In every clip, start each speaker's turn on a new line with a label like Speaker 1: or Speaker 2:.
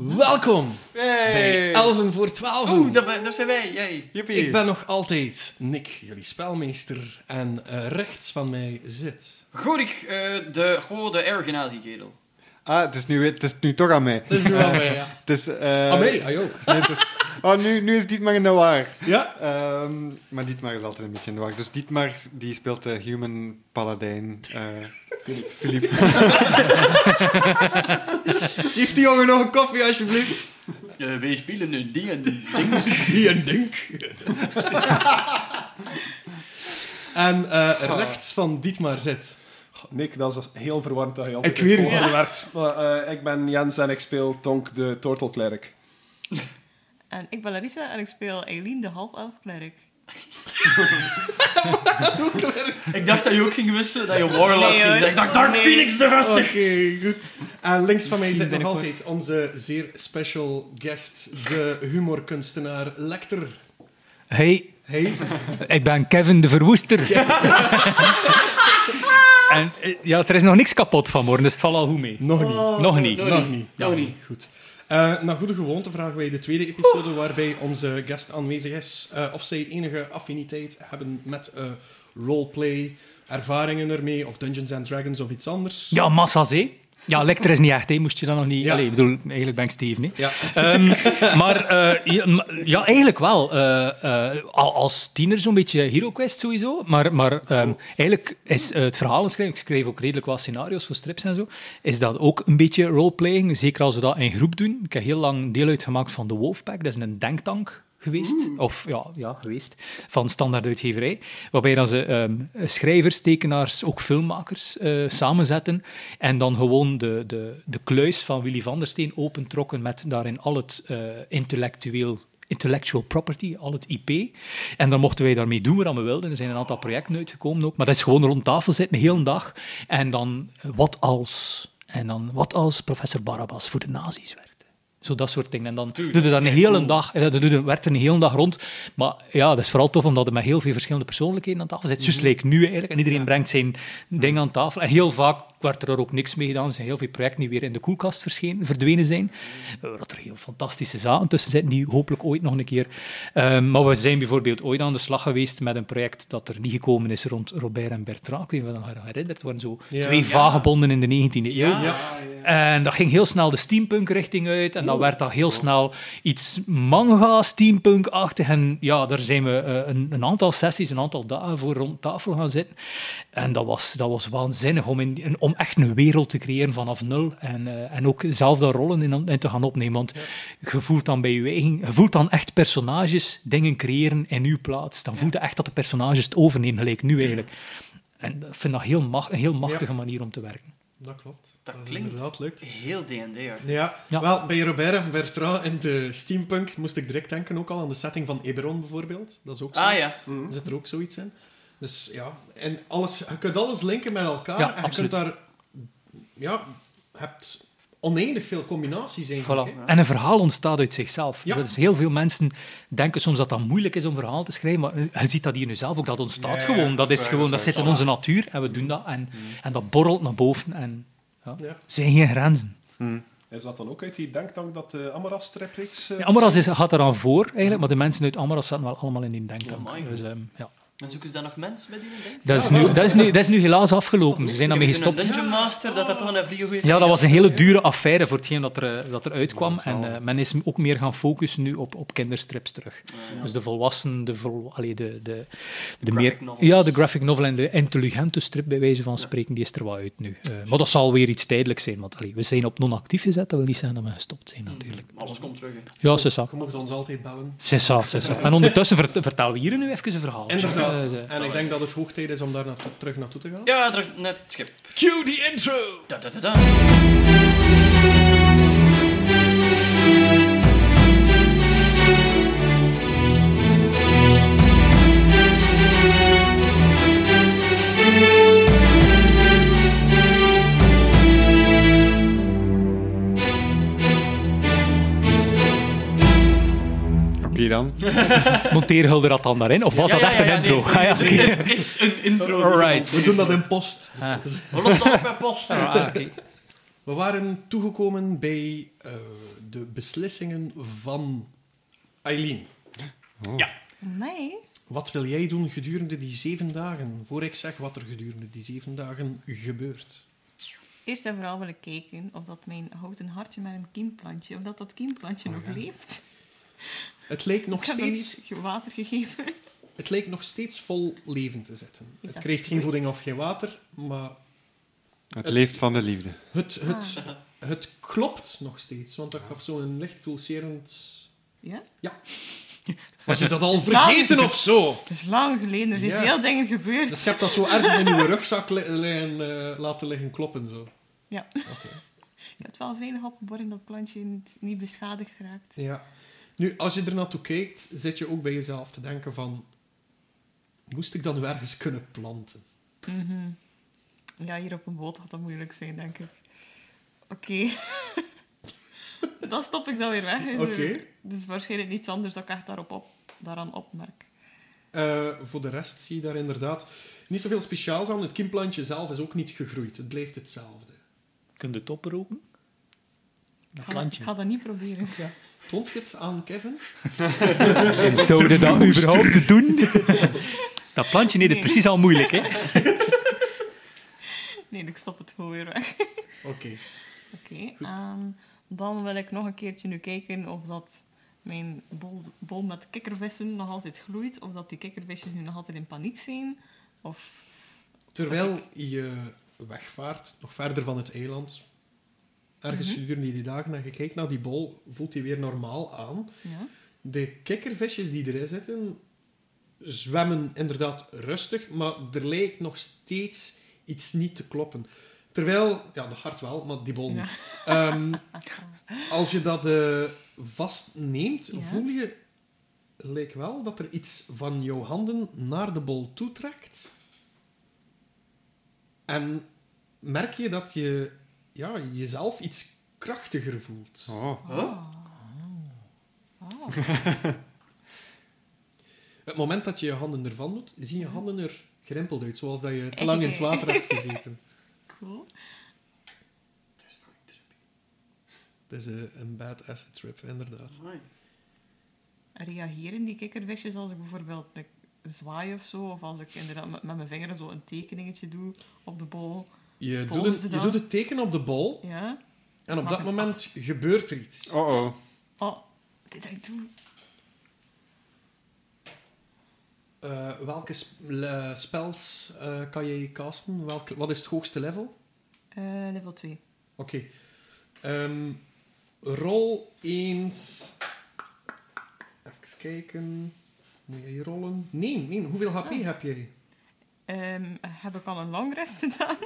Speaker 1: Welkom bij Elven voor 12.
Speaker 2: Oeh, daar, daar zijn wij. Jij.
Speaker 1: Ik ben nog altijd Nick, jullie spelmeester. En eh, rechts van mij zit.
Speaker 2: Gorik, eh, de goede ergenazi-kerel.
Speaker 3: Ah, het is, nu, weer- het is nu toch aan mij.
Speaker 1: Dat is nu wel mij, ja.
Speaker 3: Het is, eh,
Speaker 1: Ah, mij, ah, joh.
Speaker 3: nee, het is- oh, nu, nu is Dietmar in de war.
Speaker 1: Ja.
Speaker 3: Ehm, maar Dietmar is altijd een beetje in de war. Dus Dietmar die speelt de human paladijn. eh Philippe.
Speaker 1: Geef die jongen nog een koffie, alsjeblieft.
Speaker 2: Eh, wij spelen een ding en ding.
Speaker 1: Die een dink. en eh, rechts van Dietmar zit.
Speaker 4: Nick, dat is heel verwarrend dat je
Speaker 1: Ik
Speaker 4: altijd
Speaker 1: weet het.
Speaker 4: overwerkt. Maar, eh, ik ben Jens en ik speel Tonk de Tortelklerk.
Speaker 5: En ik ben Larissa en ik speel Eileen de half-elf klerk.
Speaker 2: Ik dacht dat je ook ging wisten dat je Warlock
Speaker 5: Nee, hoor.
Speaker 2: ging. Ik dacht Dark
Speaker 5: Nee.
Speaker 2: Phoenix de
Speaker 1: Oké,
Speaker 2: vestig.
Speaker 1: goed. En links van mij
Speaker 6: Misschien
Speaker 1: zit nog
Speaker 6: binnenkort.
Speaker 1: altijd onze zeer special guest, de humorkunstenaar Lecter.
Speaker 6: Hey,
Speaker 1: Hey.
Speaker 6: ik ben Kevin de Verwoester. en eh, ja, er is nog niks kapot van worden, dus het valt al goed mee.
Speaker 1: Nog niet.
Speaker 6: nog niet.
Speaker 2: Nog
Speaker 1: Nog
Speaker 2: niet.
Speaker 1: niet. Nou,
Speaker 2: Nog niet.
Speaker 1: Goed. Eh naar goede gewoonte vragen wij de tweede episode waarbij onze guest aanwezig is eh, of zij enige affiniteit hebben met eh, roleplay, ervaringen ermee of Dungeons and Dragons of iets anders.
Speaker 6: Ja, massa's, hé. Ja, lecter is niet echt, hé. Moest je dat nog niet...
Speaker 1: Ja.
Speaker 6: Allee, ik bedoel, eigenlijk ben ik Steven, hé.
Speaker 1: Ja.
Speaker 6: Ehm, maar eh, ja, m- ja, eigenlijk wel. Eh, eh, al- als tiener zo'n beetje HeroQuest sowieso. Maar, maar ehm, eigenlijk is eh, het verhaal schrijven, ik schreef ook redelijk wat scenario's voor strips en zo, is dat ook een beetje roleplaying. Zeker als we dat in groep doen. Ik heb heel lang deel uitgemaakt van de Wolfpack. Dat is een denktank geweest. Of ja, ja, geweest. Van standaarduitgeverij. Waarbij dan ze ehm, schrijvers, tekenaars, ook filmmakers eh, samenzetten. En dan gewoon de, de, de kluis van Willy van der Steen opentrokken met daarin al het eh, intellectueel. Intellectual property, al het IP. En dan mochten wij daarmee doen wat we wilden. Er zijn een aantal projecten uitgekomen ook. Maar dat is gewoon rond tafel zitten, de hele dag. En dan, eh, wat als? En dan, wat als professor Barabbas voor de nazi's werkte? Zo dat soort dingen. En dan doe je dat een hele dag, en dat doe je- werkt er een hele dag rond. Maar ja, dat is vooral tof omdat het met heel veel verschillende persoonlijkheden aan tafel zit.
Speaker 1: Mhm.
Speaker 6: Zus leek nu eigenlijk. En iedereen brengt zijn ding aan tafel. En heel vaak werd er ook niks mee gedaan. Er zijn heel veel projecten die weer in de koelkast verschenen, verdwenen zijn.
Speaker 1: Mhm.
Speaker 6: Eh, Dat er heel fantastische zaken tussen zitten, die hopelijk ooit nog een keer. Eh, maar we zijn bijvoorbeeld ooit aan de slag geweest met een project dat er niet gekomen is rond Robert en Bertrand. Ik weet niet of je dat nog herinnert. Het waren zo
Speaker 1: Ja.
Speaker 6: twee
Speaker 1: Ja.
Speaker 6: vagebonden in de 19e eeuw.
Speaker 1: Ja.
Speaker 6: En dat ging heel snel de steampunk richting uit. En dan werd dat heel snel iets manga steampunk-achtig. En ja, daar zijn we eh, een, een aantal sessies, een aantal dagen voor rond tafel gaan zitten. En dat was, dat was waanzinnig om, in, in- om echt een wereld te creëren vanaf nul. En, eh, en ook zelf daar rollen in, in te gaan opnemen. Want je voelt dan bij je eigen, je voelt dan echt personages dingen creëren in uw plaats. Dan voelt je echt dat de personages het overnemen, gelijk nu eigenlijk. En ik vind dat heel mag- een heel machtige manier om te werken.
Speaker 1: Dat klopt.
Speaker 2: Dat
Speaker 1: is
Speaker 2: klinkt.
Speaker 1: inderdaad leuk.
Speaker 2: Heel D&D'er.
Speaker 1: Ja.
Speaker 6: Ja.
Speaker 1: wel, bij Robert en Bertrand in de steampunk moest ik direct denken ook al aan de setting van Eberron bijvoorbeeld. Dat is ook zo.
Speaker 2: Ah ja.
Speaker 1: Er zit er ook zoiets in. Dus ja, en alles, je kunt alles linken met elkaar.
Speaker 6: Ja,
Speaker 1: en je
Speaker 6: absoluut.
Speaker 1: kunt daar, ja, je hebt oneindig veel combinaties eigenlijk.
Speaker 6: Voilà.
Speaker 1: hè.
Speaker 6: En een verhaal ontstaat uit zichzelf.
Speaker 1: Ja.
Speaker 6: Dus heel veel mensen denken soms dat dat moeilijk is om verhaal te schrijven, maar eh, je ziet dat hier nu zelf ook. Dat ontstaat
Speaker 3: Ja, ja,
Speaker 6: gewoon. Dat,
Speaker 3: dat
Speaker 6: is
Speaker 3: is waar,
Speaker 6: gewoon,
Speaker 3: dat
Speaker 6: dat
Speaker 3: is
Speaker 6: zit in onze natuur en we doen dat. En, en dat borrelt naar boven en ja.
Speaker 1: Ja.
Speaker 6: er zijn geen grenzen.
Speaker 4: Is dat dan ook uit die denktank dat de Amaras-stripreeks... eh,
Speaker 6: Ja, Amaras is, gaat eraan voor, eigenlijk, maar de mensen uit Amaras zaten wel allemaal in die
Speaker 2: Oh,
Speaker 6: denktank.
Speaker 2: mooi.
Speaker 6: dus, ehm, ja.
Speaker 2: En zoeken ze dan nog mensen met die ding?
Speaker 6: dat, is nu, dat, is nu, dat is nu helaas afgelopen. Ze zijn daarmee
Speaker 2: Ik heb zo'n
Speaker 6: gestopt.
Speaker 2: Dungeon Master dat er toch een vlieg
Speaker 6: Ja, dat was een hele dure affaire voor hetgeen dat er, eh, dat er uitkwam. En eh, men is ook meer gaan focussen nu op, op kinderstrips terug. Dus de volwassenen, de, vol, allee, de, de, de, meer...
Speaker 2: graphic novels.
Speaker 6: Ja, de graphic novel en de intelligente strip, bij wijze van spreken, die is er wel uit nu. Eh, maar dat zal weer iets tijdelijks zijn, want allee, we zijn op non-actief gezet. Dat wil niet zeggen dat we gestopt
Speaker 2: Mm.
Speaker 6: zijn, natuurlijk.
Speaker 2: Alles komt terug. hè.
Speaker 6: Ja, c'est ça.
Speaker 1: Je mocht ons altijd bellen.
Speaker 6: C'est ça, c'est ça. En ondertussen vert- vertalen we hier nu even een verhaal.
Speaker 1: Inderdaad.
Speaker 6: Eh, eh,
Speaker 1: En ik denk dat het hoog tijd is om daar naartoe- terug naartoe te gaan.
Speaker 2: Ja, terug naar het schip.
Speaker 1: Cue the intro!
Speaker 2: Da, da, da, da.
Speaker 3: Oké dan.
Speaker 6: Monteer Hulder dat dan daarin? Of was
Speaker 2: Ja,
Speaker 6: dat
Speaker 2: ja,
Speaker 6: echt
Speaker 2: ja,
Speaker 6: een intro?
Speaker 2: nee.
Speaker 6: Ah, ja, oké.
Speaker 2: Dit is een intro.
Speaker 6: Alright.
Speaker 1: We doen dat in post.
Speaker 2: We lossen dat op bij post.
Speaker 6: Ah, oké.
Speaker 1: We waren toegekomen bij eh, de beslissingen van Eileen.
Speaker 5: Mij?
Speaker 1: Wat wil jij doen gedurende die zeven dagen? Voor ik zeg wat er gedurende die zeven dagen gebeurt.
Speaker 5: Eerst en vooral wil ik kijken of dat mijn houten hartje met een kiemplantje, of dat dat kiemplantje nog leeft.
Speaker 1: Het lijkt nog
Speaker 5: ik heb hem
Speaker 1: steeds
Speaker 5: niet ge- water gegeven.
Speaker 1: Het leek nog steeds vol leven te zitten.
Speaker 5: Is
Speaker 1: Het
Speaker 5: dat
Speaker 1: kreeg geen voeding of geen water, maar
Speaker 3: Het leeft van de liefde.
Speaker 1: het, het, het klopt nog steeds. Want dat gaf zo'n licht pulserend...
Speaker 5: Ja?
Speaker 1: Was je dat al vergeten of zo?
Speaker 5: Het is lang geleden, er zijn
Speaker 1: Ja.
Speaker 5: veel dingen gebeurd.
Speaker 1: Dus je hebt dat zo ergens in je rugzak li- liggen, eh, laten liggen kloppen. Zo.
Speaker 5: Ja.
Speaker 1: Oké.
Speaker 5: Ik had wel veilig opgeborgen dat het plantje niet, niet beschadigd raakt.
Speaker 1: Ja. Nu, als je er naartoe kijkt, zit je ook bij jezelf te denken van... Moest ik dat nu ergens kunnen planten?
Speaker 5: Mhm. Ja, hier op een boot gaat dat moeilijk zijn, denk ik. Oké. dan stop ik dat weer weg. Dus,
Speaker 1: Oké.
Speaker 5: dus waarschijnlijk niets anders dat ik echt daarop op, daaraan opmerk.
Speaker 1: Eh, voor de rest zie je daar inderdaad niet zoveel speciaals aan. Het kimplantje zelf is ook niet gegroeid. Het blijft hetzelfde.
Speaker 6: Kun je de top roken?
Speaker 5: Ik
Speaker 6: Dat
Speaker 5: ga, ik
Speaker 6: plantje.
Speaker 5: ga dat niet proberen.
Speaker 1: Toont je het aan Kevin?
Speaker 6: Zou je dat überhaupt doen? dat plantje nee, dat is
Speaker 5: Nee.
Speaker 6: precies al moeilijk, hè?
Speaker 5: Nee, ik stop het gewoon weer weg.
Speaker 1: Oké.
Speaker 5: Oké. ehm, dan wil ik nog een keertje nu kijken of dat mijn bol, bol met kikkervissen nog altijd gloeit. Of dat die kikkervisjes nu nog altijd in paniek zijn. Of...
Speaker 1: Terwijl je wegvaart, nog verder van het eiland, ergens
Speaker 5: Mhm.
Speaker 1: gedurende die dagen, en je kijkt naar die bol, voelt die weer normaal aan.
Speaker 5: Ja.
Speaker 1: De kikkervisjes die erin zitten, zwemmen inderdaad rustig, maar er lijkt nog steeds iets niet te kloppen. Terwijl, ja, de hart wel, maar die bol niet.
Speaker 5: Ja.
Speaker 1: Ehm, als je dat eh, vastneemt,
Speaker 5: Ja.
Speaker 1: voel je lijkt wel dat er iets van jouw handen naar de bol toetrekt. En merk je dat je ja, jezelf iets krachtiger voelt.
Speaker 3: Oh,
Speaker 1: Het moment dat je je handen ervan doet, zien
Speaker 5: Mhm.
Speaker 1: je handen er gerimpeld uit, zoals dat je
Speaker 5: Eh,
Speaker 1: te lang in het water hebt gezeten.
Speaker 5: Cool.
Speaker 2: Dat is fucking trippy.
Speaker 1: Het is eh, een bad acid trip, inderdaad.
Speaker 2: Amai.
Speaker 5: reageren die kikkervisjes als ik bijvoorbeeld like, zwaai of zo, of als ik inderdaad met, met mijn vingeren zo een tekeningetje doe op de bol.
Speaker 1: Je doet,
Speaker 5: Volgen
Speaker 1: een,
Speaker 5: ze
Speaker 1: je
Speaker 5: dat?
Speaker 1: doet het teken op de bol
Speaker 5: Ja.
Speaker 1: en op
Speaker 5: Mag
Speaker 1: dat
Speaker 5: een
Speaker 1: moment
Speaker 5: acht.
Speaker 1: gebeurt er iets.
Speaker 3: oh. oh.
Speaker 5: Oh, dit dat ik doe.
Speaker 1: Eh, welke sp- le- spells eh, kan jij casten? Welke, wat is het hoogste level?
Speaker 5: Eh, level 2.
Speaker 1: Oké. Ehm, rol eens. Even kijken. Moet jij rollen? Nee, nee. Hoeveel HP
Speaker 5: Ah.
Speaker 1: heb jij?
Speaker 5: Ehm, heb ik al een long rest gedaan?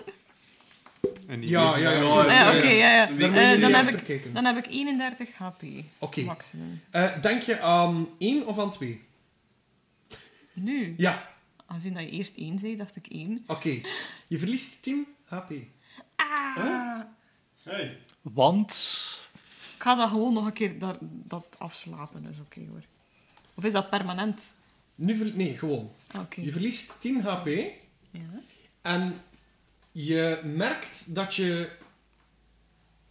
Speaker 3: En die
Speaker 1: Ja,
Speaker 3: leven
Speaker 1: ja, ja.
Speaker 3: daar-
Speaker 2: Oh,
Speaker 5: Ah,
Speaker 2: ja,
Speaker 5: ja,
Speaker 2: ja.
Speaker 5: oké, ja, ja.
Speaker 1: Daar moet
Speaker 5: Eh,
Speaker 1: je
Speaker 5: dan,
Speaker 1: niet
Speaker 5: heb
Speaker 1: achter
Speaker 5: ik,
Speaker 1: kijken.
Speaker 5: dan heb ik 31 HP
Speaker 1: Oké.
Speaker 5: maximum.
Speaker 1: Eh, denk je aan één of aan twee?
Speaker 5: Nu,
Speaker 1: Ja,
Speaker 5: aangezien dat je eerst 1 zei, dacht ik 1.
Speaker 1: oké. Je verliest 10 HP.
Speaker 5: Ah!
Speaker 4: Hey.
Speaker 6: Want...
Speaker 5: Ik ga dat gewoon nog een keer daar, dat afslapen, dat is oké hoor. Of is dat permanent?
Speaker 1: Nu verl- nee, gewoon.
Speaker 5: Ah, Oké.
Speaker 1: Je verliest 10 HP
Speaker 5: Ja.
Speaker 1: en je merkt dat je.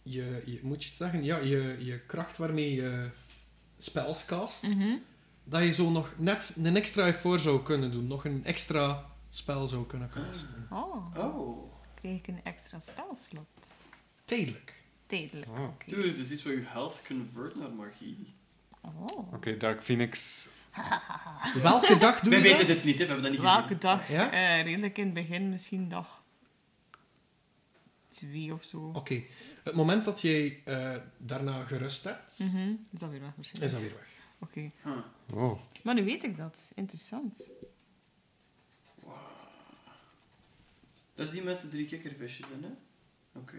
Speaker 1: Je, je- moet je het zeggen? Ja, je, je kracht waarmee je spells cast.
Speaker 5: Mhm.
Speaker 1: dat je zo nog net een extra effort zou kunnen doen. Nog een extra spel zou kunnen casten.
Speaker 5: Oh,
Speaker 2: Oh.
Speaker 5: kreeg ik een extra spelslot.
Speaker 1: Tijdelijk.
Speaker 5: Tijdelijk.
Speaker 1: Ah,
Speaker 3: Oh.
Speaker 5: oké.
Speaker 2: Dude, het is dus iets waar je health convert naar magie.
Speaker 5: Oh.
Speaker 3: Oké, Dark Phoenix.
Speaker 1: Welke dag doe
Speaker 2: Wij
Speaker 1: je
Speaker 2: weten
Speaker 1: dat?
Speaker 2: dit niet, hè. we hebben dat niet
Speaker 5: Welke dag?
Speaker 1: Ja?
Speaker 5: Eh, redelijk in het begin, misschien dag twee of zo.
Speaker 1: Oké. Het moment dat jij eh, daarna gerust hebt,
Speaker 5: Mhm, Is dat weer weg waarschijnlijk?
Speaker 1: is dat weer weg.
Speaker 5: Oké.
Speaker 2: gezien. Huh.
Speaker 3: Oh.
Speaker 5: Maar nu weet ik dat. Interessant.
Speaker 2: Dat is die met de drie kikkervisjes in, hè? Oké.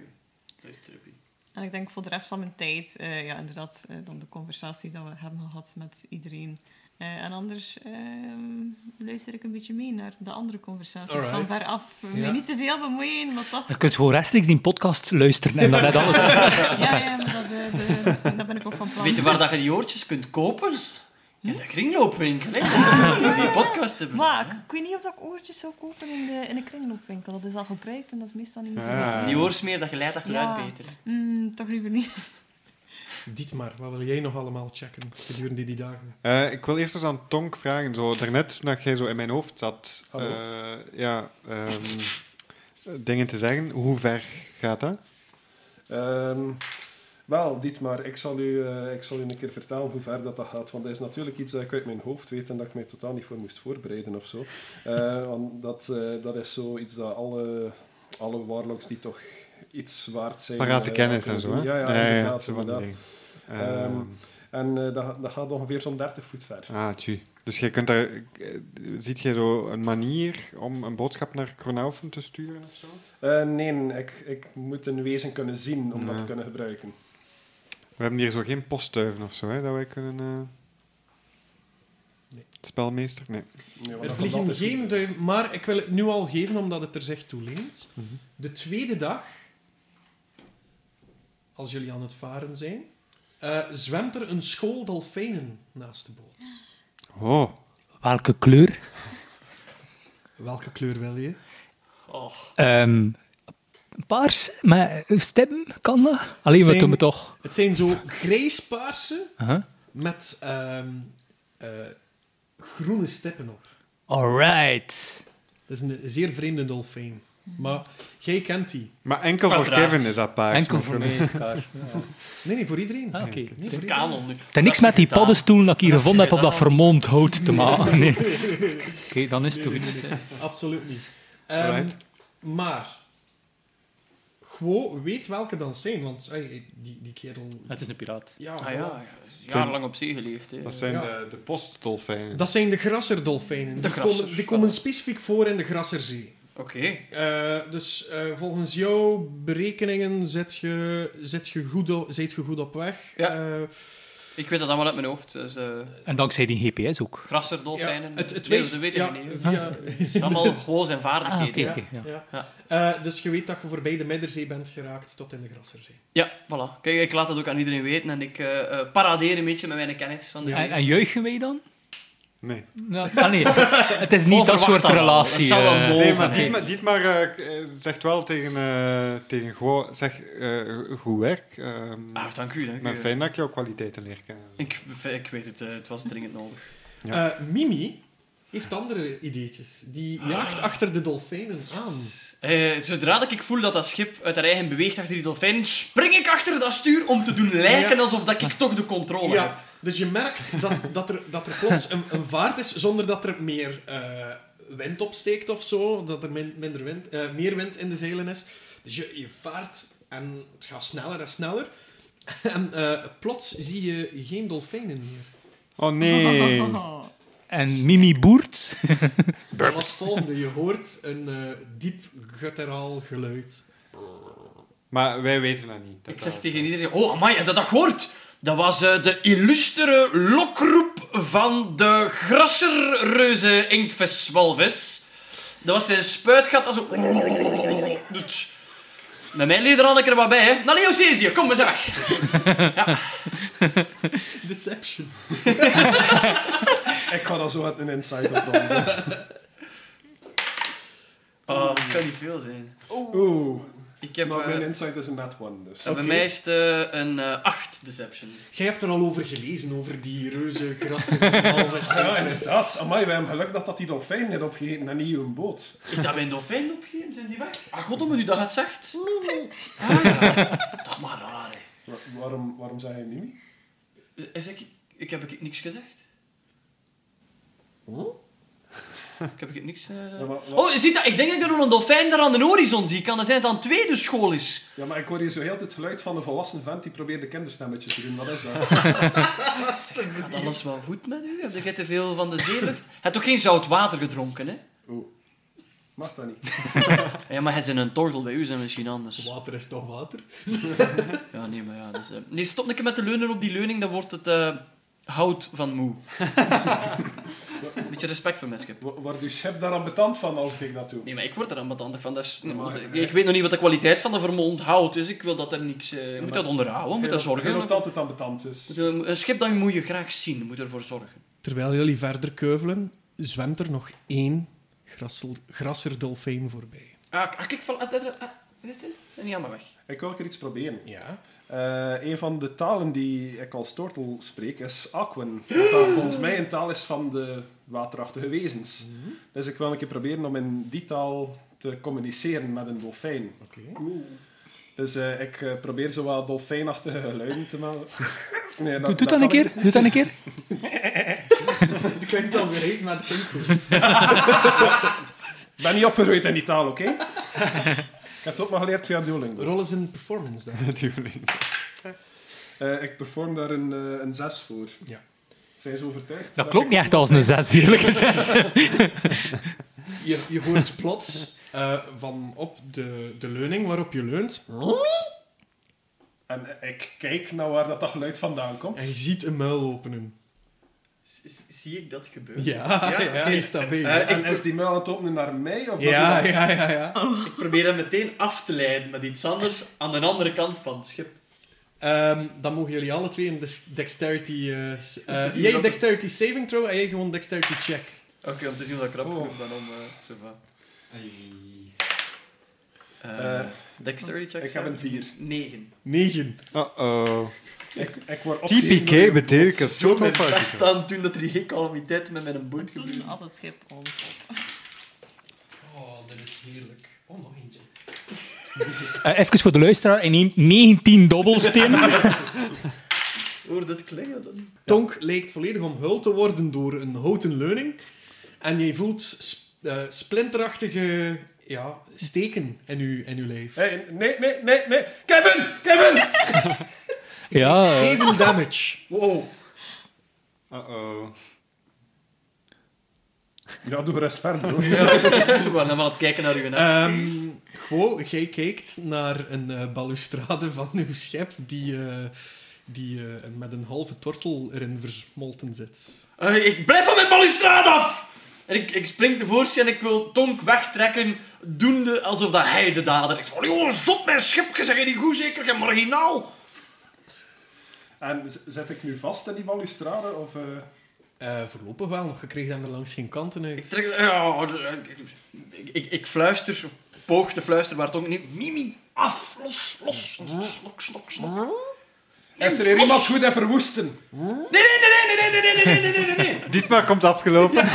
Speaker 2: Dat is trippy.
Speaker 5: En ik denk voor de rest van mijn tijd, eh, ja inderdaad, eh, dan de conversatie dat we hebben gehad met iedereen. Eh, en anders ehm, luister ik een beetje mee naar de andere conversaties van
Speaker 1: Alright.
Speaker 5: ver af. Me
Speaker 1: Ja.
Speaker 5: niet te veel bemoeien, maar toch.
Speaker 6: Je kunt gewoon rechtstreeks die podcast luisteren en dan heb je alles.
Speaker 5: Ja, ja maar dat, eh, de- dat ben ik ook van plan.
Speaker 2: Weet je waar dat je die oortjes kunt kopen? In de kringloopwinkel, hè? Die podcast hebben.
Speaker 5: Maar ik, ik weet niet of dat ik oortjes zou kopen in de, in de kringloopwinkel. Dat is al gebruikt en dat is meestal niet meer zo.
Speaker 3: Ja.
Speaker 2: Die oorsmeer, dat geleidt dat geluid
Speaker 5: Ja.
Speaker 2: beter.
Speaker 5: Mm, toch liever niet.
Speaker 1: Dietmar, wat wil jij nog allemaal checken gedurende die dagen?
Speaker 3: Eh, ik wil eerst eens aan Tonk vragen. Zo, daarnet, toen jij zo in mijn hoofd zat,
Speaker 1: Hallo.
Speaker 3: eh, ja, ehm, dingen te zeggen. Hoe ver gaat dat?
Speaker 4: Ehm, wel, Dietmar, ik zal, u, eh, ik zal u een keer vertellen hoe ver dat, dat gaat. Want dat is natuurlijk iets dat ik uit mijn hoofd weet en dat ik mij totaal niet voor moest voorbereiden of zo. Eh, want dat, eh, dat is zoiets dat alle, alle warlocks die toch iets waard zijn...
Speaker 3: Parate
Speaker 4: eh,
Speaker 3: kennis en
Speaker 4: kunnen
Speaker 3: zo,
Speaker 4: doen.
Speaker 3: hè?
Speaker 4: Ja, ja, inderdaad.
Speaker 3: zo van die
Speaker 4: inderdaad.
Speaker 3: dingen. Ehm,
Speaker 4: Ehm, En eh, dat, dat gaat ongeveer zo'n 30 voet ver.
Speaker 3: ah, tjie. Dus jij kunt daar... eh, Ziet jij zo een manier om een boodschap naar Kronaufen te sturen of zo?
Speaker 4: Eh, nee, ik, ik moet een wezen kunnen zien om dat
Speaker 3: Ja.
Speaker 4: te kunnen gebruiken.
Speaker 3: We hebben hier zo geen postduiven of zo, hè, dat wij kunnen... eh,
Speaker 1: Nee.
Speaker 3: Spelmeester? Nee.
Speaker 4: Nee, want
Speaker 1: Er
Speaker 4: dat
Speaker 1: vliegen
Speaker 4: vandaag is-
Speaker 1: geen duim, maar ik wil het nu al geven omdat het er zich toe leent.
Speaker 3: Mhm.
Speaker 1: De tweede dag, als jullie aan het varen zijn, eh, zwemt er een school dolfijnen naast de boot.
Speaker 3: Oh,
Speaker 6: Welke kleur?
Speaker 1: Welke kleur wil je?
Speaker 6: Ehm, paars, maar stemmen kan dat? Alleen we
Speaker 1: Zijn-
Speaker 6: doen het toch.
Speaker 1: Het zijn zo grijspaarse
Speaker 6: Uh-huh.
Speaker 1: met ehm, eh, groene stippen op.
Speaker 6: Alright.
Speaker 1: Dat is een zeer vreemde dolfijn. Maar jij kent die.
Speaker 3: maar enkel voor
Speaker 2: Uiteraard.
Speaker 3: Kevin is dat paars.
Speaker 6: Enkel
Speaker 3: maar
Speaker 6: voor mij.
Speaker 1: Nee, nee, voor iedereen.
Speaker 6: Ah, oké.
Speaker 1: Nee,
Speaker 6: Het
Speaker 2: Het
Speaker 1: voor
Speaker 2: is
Speaker 1: iedereen.
Speaker 2: kanon nu.
Speaker 6: heeft niks met die paddenstoel dat ik hier gevonden heb op dat vermomd hout te maken. Nee. Oké, dan is het
Speaker 1: Nee,
Speaker 6: goed.
Speaker 1: nee, nee, nee. Absoluut niet. Ehm,
Speaker 3: Alright.
Speaker 1: Maar, Guo weet welke dan zijn, want ey, die, die kerel...
Speaker 6: Het is een piraat.
Speaker 1: Ja,
Speaker 2: Ah ja, jarenlang
Speaker 3: jarenlang
Speaker 2: op zee geleefd. Hè.
Speaker 3: Dat zijn
Speaker 1: Ja.
Speaker 3: de, de postdolfijnen.
Speaker 1: Dat zijn de grasserdolfijnen.
Speaker 2: De
Speaker 1: die, komen,
Speaker 2: grassers,
Speaker 1: die komen
Speaker 2: ja.
Speaker 1: specifiek voor in de Grasserzee.
Speaker 2: Oké.
Speaker 1: Eh, dus eh, volgens jouw berekeningen zit je, zit je, goed, op, zit je goed op weg.
Speaker 2: Ja.
Speaker 1: Eh,
Speaker 2: Ik weet dat allemaal uit mijn hoofd. Dus, eh
Speaker 6: En dankzij die GPS ook.
Speaker 2: grasserdolfijnen.
Speaker 1: ja, het, het
Speaker 2: nee,
Speaker 1: wijst-
Speaker 2: ze weten
Speaker 1: ja,
Speaker 2: het niet.
Speaker 1: via-
Speaker 2: Het zijn allemaal gewoon zijn
Speaker 6: Ah, oké.
Speaker 2: vaardigheden.
Speaker 1: Ja,
Speaker 6: oké, ja.
Speaker 1: ja.
Speaker 2: Ja.
Speaker 1: Eh, dus je weet dat je voorbij de Midderzee bent geraakt tot in de Grasserzee.
Speaker 2: Ja, voilà. Kijk, ik laat dat ook aan iedereen weten. En ik eh, eh, paradeer een beetje met mijn kennis van de
Speaker 6: En,
Speaker 2: zee.
Speaker 6: en juichen wij dan?
Speaker 3: Nee.
Speaker 6: Nou, ah, nee. Het is niet dat
Speaker 2: Onverwacht
Speaker 6: soort
Speaker 2: allemaal.
Speaker 6: relatie.
Speaker 2: Dat zou wel
Speaker 6: eh.
Speaker 2: mooi-
Speaker 3: Nee,
Speaker 2: Over.
Speaker 3: maar Dietmar, Dietmar eh, eh, zegt wel tegen, eh, tegen Go, zeg, eh, goed werk. ehm,
Speaker 2: Ah, dank u, dank u.
Speaker 3: maar fijn dat ik jouw kwaliteiten leer kennen.
Speaker 2: Ik, ik weet het, eh, het was dringend nodig.
Speaker 3: Ja.
Speaker 1: Eh, Mimi heeft andere ideetjes. Die jaagt achter de dolfijnen aan.
Speaker 2: Eh, zodra dat ik voel dat dat schip uit haar eigen beweegt achter die dolfijn, spring ik achter dat stuur om te doen lijken
Speaker 1: Ja.
Speaker 2: alsof dat ik toch de controle heb.
Speaker 1: Ja, dus je merkt dat, dat, er, dat er plots een, een vaart is zonder dat er meer eh, wind opsteekt of zo. Dat er min- minder wind, eh, meer wind in de zeilen is. Dus je, je vaart en het gaat sneller en sneller. En eh, plots zie je geen dolfijnen meer.
Speaker 3: Oh nee.
Speaker 6: En Mimi boert.
Speaker 1: Dat was het volgende. Je hoort een eh, diep gutteraal geluid.
Speaker 3: maar wij weten dat niet. Dat
Speaker 2: Ik zeg
Speaker 3: dat-
Speaker 2: tegen iedereen, oh amai, dat dat hoort. Dat was eh, de illustere lokroep van de grasserreuze inktviswalvis. Dat was zijn spuitgat als een... doet. Met mijn leder had ik er wat bij, hè. Nou, Leocesië, kom eens weg.
Speaker 1: Deception.
Speaker 4: Ik ga dat zo uit een insight op dan.
Speaker 2: Oh, het zou niet veel zijn.
Speaker 4: Oeh,
Speaker 2: Ik heb...
Speaker 4: maar mijn
Speaker 2: eh,
Speaker 4: insight is een net one, dus.
Speaker 2: Bij mij is het eh, een 8 deception.
Speaker 1: Jij hebt er al over gelezen, over die reuze grassen. Alves
Speaker 4: Ja, inderdaad. Amai, wij hebben geluk dat dat die dolfijn heeft opgegeten en niet hun boot.
Speaker 2: Ik dat mijn dolfijn opgegeven, zijn die weg? Ah, goddomme, nu dat je het zegt. Toch maar raar, hè.
Speaker 4: Wa- waarom, waarom zei hij niet?
Speaker 2: Eh, Zeg ik, ik heb ik niks gezegd? Ik heb ik niks... eh,
Speaker 4: Ja, maar- maar-
Speaker 2: Oh, je ziet dat? Ik denk dat ik er nog een dolfijn daar aan de horizon zie. Kan dat zijn dat het aan tweede school is?
Speaker 4: Ja, maar ik hoor hier zo heel het geluid van een volwassen vent die probeert de kinderstemmetjes te doen. Wat is dat?
Speaker 2: Gaat alles wel goed met u? Heb je te veel van de zeelucht? Je hebt toch geen zout water gedronken, hè?
Speaker 4: Oeh. Mag dat niet.
Speaker 2: Ja, maar hij is in een tortel. Bij u zijn misschien anders.
Speaker 1: Water is toch water?
Speaker 2: Ja, nee, maar ja. Dus, eh, Nee, stop een keer met de leunen op die leuning. Dan wordt het eh, hout van moe. Beetje respect voor mensen.
Speaker 4: Wa- Wordt uw schip daar ambetant van als ik dat doe?
Speaker 2: Nee, maar ik word er ambetantig van. Dat is,
Speaker 4: maar-
Speaker 2: ik, ik weet nog niet wat de kwaliteit van de vermolmd hout is. Ik wil dat er niks... eh, je moet
Speaker 4: maar-
Speaker 2: dat onderhouden, je moet daar zorgen.
Speaker 4: Dat altijd ambetant is.
Speaker 2: Moet- eh, Een schip dat moet je graag zien, je moet ervoor zorgen.
Speaker 1: Terwijl jullie verder keuvelen, zwemt er nog één grassel- grasserdolfijn voorbij.
Speaker 2: Ah, k- ah, kijk, val, ah, daar- ah, weet je, en niet allemaal weg.
Speaker 4: Ik wil er iets proberen.
Speaker 1: Ja.
Speaker 4: Eh, een van de talen die ik als tortel spreek is Aquen. Dat volgens mij een taal is van de waterachtige wezens. Dus ik wil een keer proberen om in die taal te communiceren met een dolfijn.
Speaker 1: Oké.
Speaker 4: Dus eh, ik eh, probeer zo wat dolfijnachtige geluiden te maken. Nee, dat-
Speaker 6: Doe,
Speaker 4: dat
Speaker 6: doe dat een
Speaker 4: kan ik
Speaker 6: keer.
Speaker 4: dus niet.
Speaker 6: Doe dat een keer.
Speaker 1: Het klinkt als een reet met kinkhoest.
Speaker 4: Ik ben niet opgegroeid in die taal, oké? ik heb het ook maar geleerd via Duolingo.
Speaker 1: Rol eens in performance dan.
Speaker 3: Natuurlijk.
Speaker 4: Eh, ik perform daar een, eh, een zes voor.
Speaker 1: Ja.
Speaker 4: Zijn ze overtuigd?
Speaker 6: Dat klopt
Speaker 4: ik-
Speaker 6: niet echt als een zes, eerlijk gezegd.
Speaker 1: Je, je hoort plots eh, van op de, de leuning waarop je leunt.
Speaker 4: En eh, ik kijk naar waar dat, dat geluid vandaan komt.
Speaker 1: En je ziet een muil openen.
Speaker 2: S- s- Zie ik dat gebeuren?
Speaker 1: Ja, ja,
Speaker 2: oké.
Speaker 1: is dat bezig.
Speaker 2: Eh,
Speaker 4: en
Speaker 2: ik-
Speaker 4: is die muil aan het openen naar mij? Of
Speaker 1: ja,
Speaker 4: dat die-
Speaker 1: ja, ja, ja.
Speaker 2: Ik probeer hem meteen af te leiden met iets anders aan de andere kant van het schip.
Speaker 1: Ehm, dan mogen jullie alle twee een dex- dexterity... eh, s- eh,
Speaker 2: Het is
Speaker 1: jij
Speaker 2: hier ook-
Speaker 1: dexterity saving throw en jij gewoon dexterity check.
Speaker 2: Oké, om te zien of ik krap
Speaker 4: Oh.
Speaker 2: genoeg ben om... eh zo van. Eh,
Speaker 4: Eh,
Speaker 2: dexterity check.
Speaker 4: ik heb een vier.
Speaker 2: 9.
Speaker 1: 9.
Speaker 3: Uh-oh.
Speaker 4: Ik, ik word opgegeten door
Speaker 3: TPK
Speaker 4: een
Speaker 3: betekent een
Speaker 2: Zo
Speaker 3: total
Speaker 2: mijn
Speaker 3: party.
Speaker 2: best aan toen dat er geen calamiteit met mijn boot
Speaker 5: Toen
Speaker 2: gebeurde.
Speaker 5: had het schip ons op.
Speaker 1: Oh, dat is heerlijk. Oh, nog eentje.
Speaker 6: Eh, even voor de luisteraar. Hij neemt 19 dobbelstenen.
Speaker 2: Hoor dat klinken dan?
Speaker 1: Tonk lijkt volledig omhuld te worden door een houten leuning. En je voelt sp- eh, splinterachtige ja, steken in je, in uw lijf.
Speaker 4: Hey, nee, nee, nee, nee. Kevin! Kevin!
Speaker 6: Ja, eh,
Speaker 1: 7 damage.
Speaker 2: Wow.
Speaker 3: Uh-oh.
Speaker 4: Ja, doe rest verder. hoor.
Speaker 2: We waren aan het kijken naar uw naam.
Speaker 1: Ehm Gewoon, jij kijkt naar een eh, balustrade van uw schep die, eh, die eh, met een halve tortel erin versmolten zit.
Speaker 2: Eh, ik blijf van mijn balustrade af! En ik, ik spring tevoorschijn en ik wil Tonk wegtrekken, doende alsof dat hij de dader is. Van, joh, zot mijn schip, je zegt niet goed zeker, je marginaal.
Speaker 4: En z- zet ik nu vast in die balustrade? Of, eh,
Speaker 1: Eh, voorlopig wel, nog gekregen hem er langs geen kanten
Speaker 2: Ik,
Speaker 1: uit.
Speaker 2: trek, eh, ja, oh, ik, ik, ik, ik fluister, poog te fluisteren, maar Tonk niet. Mimi, af, los, los, slok, slok, slok.
Speaker 4: Is er hier iemand goed en verwoesten?
Speaker 2: Nee, nee, nee, nee, nee, nee, nee, nee, nee, nee, nee, nee.
Speaker 3: Dietmar komt afgelopen.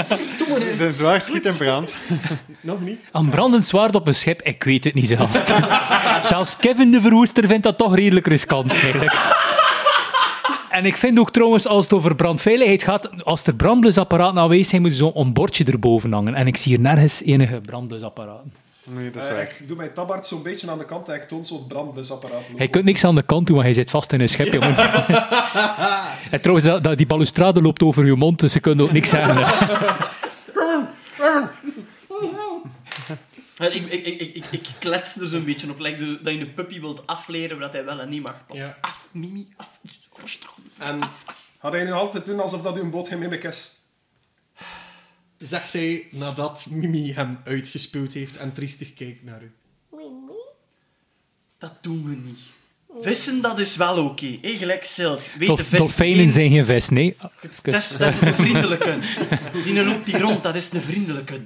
Speaker 3: Zijn zwaard schiet in brand.
Speaker 1: Nog niet?
Speaker 6: Een brandend zwaard op een schip, ik weet het niet zelfs. zelfs Kevin de Verwoester vindt dat toch redelijk riskant, eigenlijk. En ik vind ook trouwens, als het over brandveiligheid gaat, als er brandblusapparaten aanwezig zijn, moet er zo'n bordje erboven hangen. En ik zie hier nergens enige brandblusapparaten.
Speaker 3: Nee, dat is
Speaker 4: Eh,
Speaker 3: waar.
Speaker 4: ik doe mijn tabaard zo'n beetje aan de kant en ik toon zo'n brandblusapparaat.
Speaker 6: Hij kunt niks aan de kant doen, want hij zit vast in een schip, jongen. en trouwens, dat, dat- die balustrade loopt over je mond, dus ze kunnen ook niks zeggen.
Speaker 2: En ik, ik, ik, ik, ik, ik klets er zo'n beetje op, like de- dat je een puppy wilt afleren wat hij wel en niet mag. Pas
Speaker 1: Ja.
Speaker 2: af, Mimi, af. Rustig.
Speaker 1: En
Speaker 4: Had hij nu altijd doen alsof dat uw boot geen mimic is?
Speaker 1: zegt hij nadat Mimi hem uitgespuwd heeft en triestig kijkt naar u.
Speaker 2: Dat doen we niet. Vissen, dat is wel oké. Hé, gelijk zilt. Weet de
Speaker 6: Dolf,
Speaker 2: vis
Speaker 6: dolfijnen
Speaker 2: geen-
Speaker 6: zijn geen vis, nee.
Speaker 2: Dat is, dat is een vriendelijke. Die loopt die rond, dat is een vriendelijke.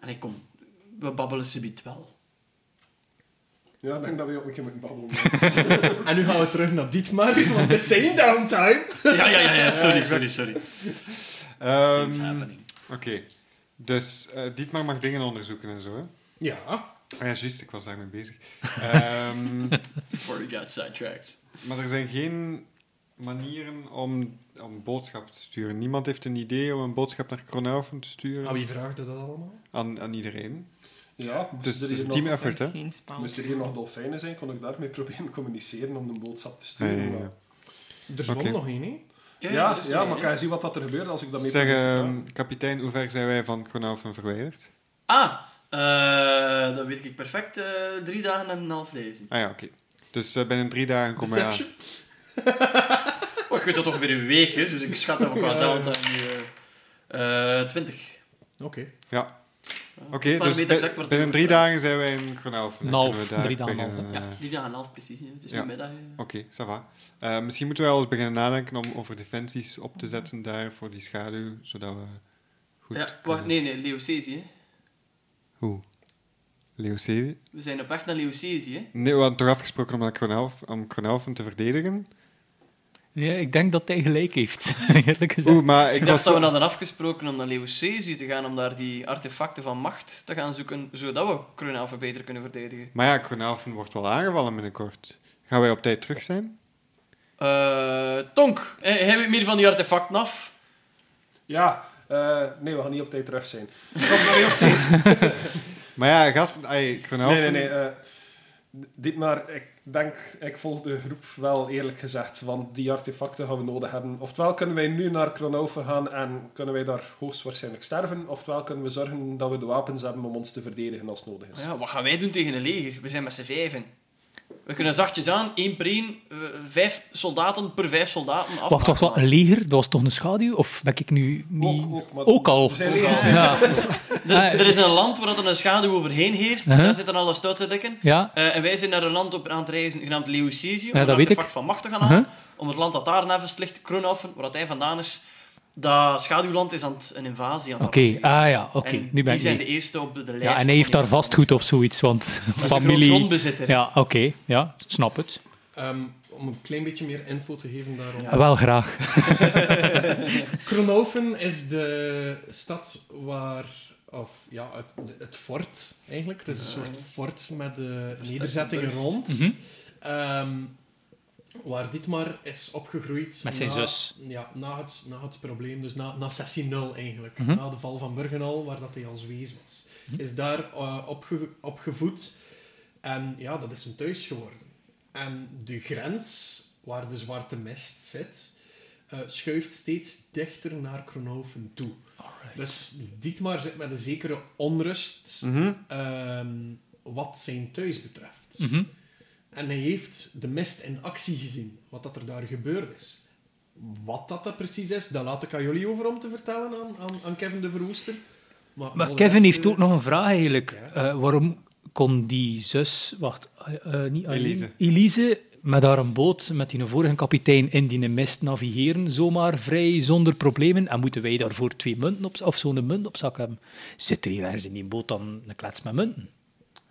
Speaker 2: En ik kom. We babbelen subiet wel.
Speaker 4: Ja, ik denk dat we ook een keer moeten babbelen.
Speaker 1: En nu gaan we terug naar Dietmar, want het is zijn downtime.
Speaker 2: Ja, ja, ja, ja. Sorry, sorry, sorry.
Speaker 3: Ehm,
Speaker 2: It's happening.
Speaker 3: Oké. Dus eh, Dietmar mag dingen onderzoeken en zo, hè?
Speaker 1: Ja.
Speaker 3: Ah ja, juist, ik was daarmee bezig. Ehm,
Speaker 2: Before we got sidetracked.
Speaker 3: maar er zijn geen manieren om, om boodschap te sturen. Niemand heeft een idee om een boodschap naar Kronaufen te
Speaker 1: Aan
Speaker 2: Ah,
Speaker 3: sturen.
Speaker 1: wie vraagt dat allemaal?
Speaker 3: Aan, aan iedereen.
Speaker 4: Ja,
Speaker 3: Dus
Speaker 4: moesten
Speaker 3: het
Speaker 4: er
Speaker 3: is
Speaker 4: hier
Speaker 3: een
Speaker 4: nog-
Speaker 3: team effort, hè?
Speaker 5: Geen spaal.
Speaker 4: Moesten er hier nog dolfijnen zijn, kon ik daarmee proberen communiceren om de boodschap te sturen.
Speaker 3: Ja, ja, ja.
Speaker 4: maar-
Speaker 1: Er zwom
Speaker 3: Oké.
Speaker 1: nog één, hè?
Speaker 4: Ja,
Speaker 2: dat
Speaker 4: ja,
Speaker 2: is-
Speaker 4: maar kan je zien wat dat er gebeurde als ik dat mee
Speaker 3: Zeg,
Speaker 4: probeer?
Speaker 3: ehm, kapitein, hoe ver zijn wij van Kronaufen verwijderd?
Speaker 2: Ah, eh, dat weet ik perfect. Eh, drie dagen en een half lezen.
Speaker 3: Ah ja, oké. Dus eh, binnen drie dagen komen wij aan.
Speaker 1: Deception?
Speaker 2: Oh, ik weet dat toch weer een week is, dus ik schat dat we qua zelf aan die... eh, eh, 20.
Speaker 1: Oké.
Speaker 3: Ja. Oké,
Speaker 2: Ik
Speaker 3: dus
Speaker 2: weet
Speaker 3: bi-
Speaker 2: exact waar het
Speaker 3: binnen
Speaker 2: over
Speaker 3: drie
Speaker 2: gaat.
Speaker 3: dagen zijn wij in Kronaufen.
Speaker 6: Een
Speaker 3: Dan
Speaker 6: half,
Speaker 3: kunnen we daar
Speaker 6: drie dagen, een
Speaker 3: beginnen,
Speaker 2: Ja,
Speaker 3: eh,
Speaker 2: drie dagen en een half precies. hè. Het is
Speaker 3: ja.
Speaker 2: nu middag. hè.
Speaker 3: Oké, ça va. Eh, misschien moeten wij al eens beginnen nadenken om over defensies op te zetten daar voor die schaduw, zodat we goed
Speaker 2: Ja, wacht,
Speaker 3: kunnen-
Speaker 2: nee, nee, Leo Cesi, hè.
Speaker 3: Hoe? Leocidi.
Speaker 2: We zijn op weg naar Leucesi, hè?
Speaker 3: Nee, we hadden toch afgesproken om, dat Kronelf, om Kronelfen te verdedigen?
Speaker 6: Nee, ik denk dat hij gelijk heeft, eerlijk gezegd.
Speaker 3: Oeh, maar ik
Speaker 2: Ik dacht
Speaker 3: was...
Speaker 2: dat we hadden afgesproken om naar Leucesi te gaan, om daar die artefacten van macht te gaan zoeken, zodat we Kronhaven beter kunnen verdedigen.
Speaker 3: Maar ja, Kronelfen wordt wel aangevallen binnenkort. Gaan wij op tijd terug zijn?
Speaker 2: Eh Tonk, eh, hij weet meer van die artefacten af.
Speaker 4: Ja, eh, nee, we gaan niet op tijd terug zijn. Kom maar heel steeds.
Speaker 3: Maar ja, gast... Ay,
Speaker 4: Nee, nee, nee. eh, dit maar, ik denk, ik volg de groep wel eerlijk gezegd, want die artefacten gaan we nodig hebben. Oftewel kunnen wij nu naar Kronoven gaan en kunnen wij daar hoogstwaarschijnlijk sterven, oftewel kunnen we zorgen dat we de wapens hebben om ons te verdedigen als nodig is.
Speaker 2: Ja, wat gaan wij doen tegen een leger? We zijn met z'n vijven. We kunnen zachtjes aan, één per één, eh, vijf soldaten per vijf soldaten af.
Speaker 6: Wacht, wacht, wacht. Een leger? Dat was toch een schaduw? Of ben ik nu niet...
Speaker 4: Ook, ook, maar-
Speaker 6: al.
Speaker 4: Er zijn legers.
Speaker 6: Ja,
Speaker 2: Er, is- er is een land waar dat er een schaduw overheen heerst,
Speaker 6: Eh, Uh-huh.
Speaker 2: daar zitten alle stoute lekken.
Speaker 6: ja.
Speaker 2: Eh, en wij zijn naar een land op aan het reizen genaamd Leucesi, om
Speaker 6: Ja,
Speaker 2: het
Speaker 6: dat weet
Speaker 2: artefact
Speaker 6: ik.
Speaker 2: van macht te gaan halen.
Speaker 6: Uh-huh.
Speaker 2: Om het land dat daar nevens ligt, Kroonhoffen, waar dat hij vandaan is, dat schaduwland is aan het, een invasie aan het
Speaker 6: Oké,
Speaker 2: arrangeren.
Speaker 6: ah ja, oké.
Speaker 2: En
Speaker 6: Nu ben
Speaker 2: die
Speaker 6: ik
Speaker 2: zijn
Speaker 6: mee.
Speaker 2: de eerste op de, de lijst.
Speaker 6: Ja, en hij heeft
Speaker 2: van
Speaker 6: daar
Speaker 2: iemand
Speaker 6: vastgoed of zoiets, want
Speaker 2: anders. Dat is een groot
Speaker 6: familie...
Speaker 2: grondbezitter.
Speaker 6: Ja, oké. ja, snap het.
Speaker 1: Ehm, om een klein beetje meer info te geven daarom.
Speaker 6: Wel graag.
Speaker 1: Kronoven is de stad waar, of ja, het, de- het fort eigenlijk. Het is een soort fort met de nederzettingen rond.
Speaker 6: Mhm.
Speaker 1: Ehm, waar Dietmar is opgegroeid.
Speaker 6: Met zijn
Speaker 1: na-
Speaker 6: zus.
Speaker 1: Ja, na het, na het probleem, dus na, na sessie 0 eigenlijk.
Speaker 6: Mhm.
Speaker 1: Na de val van Burgenal, waar dat hij als wees was.
Speaker 6: Mhm.
Speaker 1: Is daar eh, opge- opgevoed. En ja, dat is zijn thuis geworden. En de grens, waar de zwarte mist zit, eh, schuift steeds dichter naar Kronoven toe. Dus Dietmar zit met een zekere onrust
Speaker 3: Mhm.
Speaker 1: ehm, wat zijn thuis betreft.
Speaker 6: Mhm.
Speaker 1: En hij heeft de mist in actie gezien, wat dat er daar gebeurd is. Wat dat, dat precies is, dat laat ik aan jullie over om te vertellen aan, aan, aan Kevin de Verwoester.
Speaker 6: Maar
Speaker 1: al de
Speaker 6: Kevin
Speaker 1: rest,
Speaker 6: heeft
Speaker 1: eh,
Speaker 6: ook nog een vraag eigenlijk. Eh, waarom kon die zus, wacht, eh, eh, niet Aileen,
Speaker 3: Elise.
Speaker 6: Elise, met haar een boot, met die vorige kapitein in die mist navigeren, zomaar vrij zonder problemen? En moeten wij daarvoor twee munten op, of zo'n munt op zak hebben? Zit er hier ergens in die boot dan een klets met munten?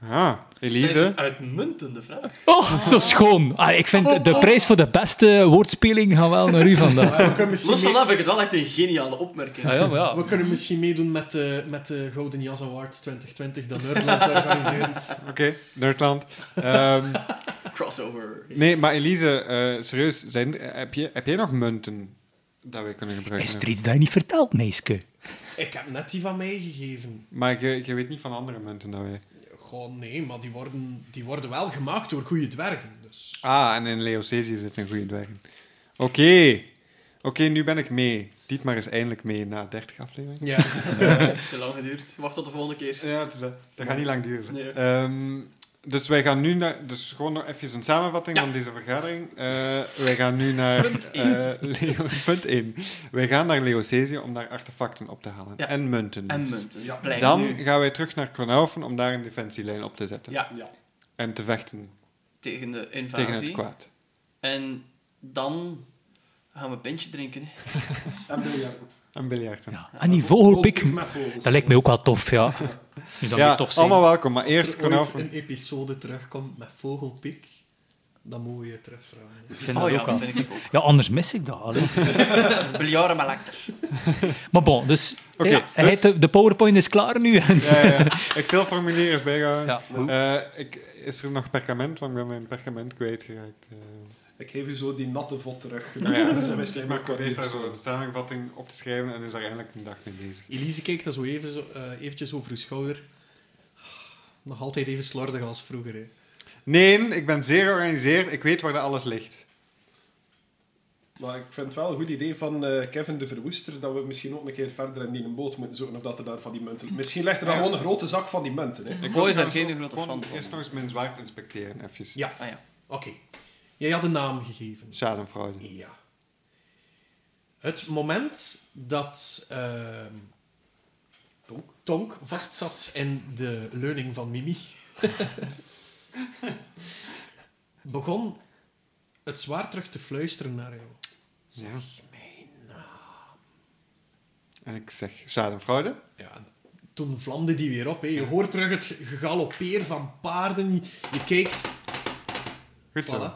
Speaker 3: Ah,
Speaker 2: is. Dat is een
Speaker 3: Elise.
Speaker 2: uitmuntende vraag.
Speaker 6: Oh, zo schoon! Ah, ik vind de prijs voor de beste woordspeling gaat wel naar u vandaag.
Speaker 1: maar we, kunnen misschien
Speaker 2: Los van
Speaker 1: mee-
Speaker 2: dat vind ik het wel echt een geniale opmerking.
Speaker 6: Ah, ja, maar ja.
Speaker 1: we kunnen misschien meedoen met de, met de Gouden Jas Awards 2020 dat Nerdland organiseert.
Speaker 3: Oké, Nerdland. Ehm,
Speaker 2: Crossover.
Speaker 3: nee, maar Elise, eh, serieus, zijn, heb, je, heb jij nog munten dat wij kunnen gebruiken?
Speaker 6: Is er iets dat je niet vertelt, meisje?
Speaker 1: Ik heb net die van mij gegeven.
Speaker 3: Maar je, je weet niet van andere munten dat wij...
Speaker 1: Goh, nee, maar die worden, die worden wel gemaakt door goede dwergen. Dus.
Speaker 3: Ah, en in Leocesi zit een goede dwerg. Oké. Oké, nu ben ik mee. Dietmar is eindelijk mee na 30 afleveringen.
Speaker 1: Ja.
Speaker 2: Te lang geduurd. Wacht tot de volgende keer.
Speaker 3: Ja, het is dat. Dat gaat niet lang duren.
Speaker 2: Nee.
Speaker 3: Ehm, dus wij gaan nu naar... Dus gewoon nog even een samenvatting van deze vergadering. Eh, wij gaan nu naar...
Speaker 2: Punt
Speaker 3: eh, Leo, punt 1. Wij gaan naar Leocesi om daar artefacten op te halen.
Speaker 2: Ja.
Speaker 3: En munten.
Speaker 2: En munten. Ja, blijf
Speaker 3: Dan
Speaker 2: nu.
Speaker 3: gaan wij terug naar Kronaufen om daar een defensielijn op te zetten.
Speaker 2: Ja,
Speaker 4: Ja.
Speaker 3: En te vechten
Speaker 2: tegen de invasie.
Speaker 3: tegen het kwaad.
Speaker 2: En dan gaan we een pintje drinken.
Speaker 4: En biljarten.
Speaker 3: En biljarten.
Speaker 6: Ja. En die vogelpik,
Speaker 4: Ook met vogels.
Speaker 6: dat lijkt mij ook wel tof, ja. Nu dat
Speaker 3: Ja,
Speaker 6: weer tof zijn.
Speaker 3: allemaal welkom, maar
Speaker 1: Als
Speaker 3: eerst
Speaker 1: er ooit
Speaker 3: Kronaufen.
Speaker 1: een episode terugkomt met Vogelpik, dan moeten we je terugvragen.
Speaker 6: Ik vind
Speaker 2: oh
Speaker 6: dat
Speaker 2: ja,
Speaker 6: ook
Speaker 2: dat
Speaker 6: wel.
Speaker 2: vind ik ook.
Speaker 6: Ja, anders mis ik dat. allee.
Speaker 2: Biljaren maar lekker.
Speaker 6: maar bon, dus...
Speaker 3: Oké,
Speaker 6: ja, hij
Speaker 3: dus-
Speaker 6: heeft de, de powerpoint is klaar nu. en-
Speaker 3: Ja, ja. Excel-formulier is bijgehouden.
Speaker 6: ja, goed.
Speaker 3: Eh, ik, is er nog perkament? Want ik ben mijn perkament kwijtgeraakt. Eh
Speaker 4: Ik geef u zo die natte vod terug.
Speaker 3: nou ja,
Speaker 4: Dan zijn wij
Speaker 3: ik
Speaker 4: slechts maar
Speaker 3: maak
Speaker 4: kwartier.
Speaker 3: probeer daar zo een samenvatting op te schrijven en is daar eigenlijk een dag mee bezig.
Speaker 1: Elise kijkt daar zo even, zo, eh, eventjes over uw schouder. Ah, Nog altijd even slordig als vroeger. Hè.
Speaker 3: Nee, ik ben zeer georganiseerd. Ik weet waar dat alles ligt.
Speaker 4: Maar ik vind het wel een goed idee van eh, Kevin de Verwoester dat we misschien ook een keer verder in die boot moeten zoeken of dat er daar van die munten... Misschien ligt er dan gewoon een grote zak van die munten. Hè.
Speaker 3: Ik
Speaker 2: Mooi,
Speaker 3: wil
Speaker 2: zijn
Speaker 3: trouwens
Speaker 2: geen
Speaker 3: ook
Speaker 2: grote
Speaker 3: gewoon
Speaker 2: fan van.
Speaker 3: Eerst nog eens mijn zwaard inspecteren, even.
Speaker 1: Ja.
Speaker 2: Ah ja.
Speaker 1: Oké. Jij had een naam gegeven.
Speaker 3: Schadenfraude.
Speaker 1: Ja. Het moment dat ehm, Tonk? vastzat in de leuning van Mimi, begon het zwaar terug te fluisteren naar jou. Zeg
Speaker 3: Ja.
Speaker 1: mijn naam.
Speaker 3: En ik zeg schadenfraude.
Speaker 1: Ja, en toen vlamde die weer op. Hè. Je hoort terug het ge- gegalopeer van paarden. Je kijkt
Speaker 3: Goed zo.
Speaker 1: Voilà.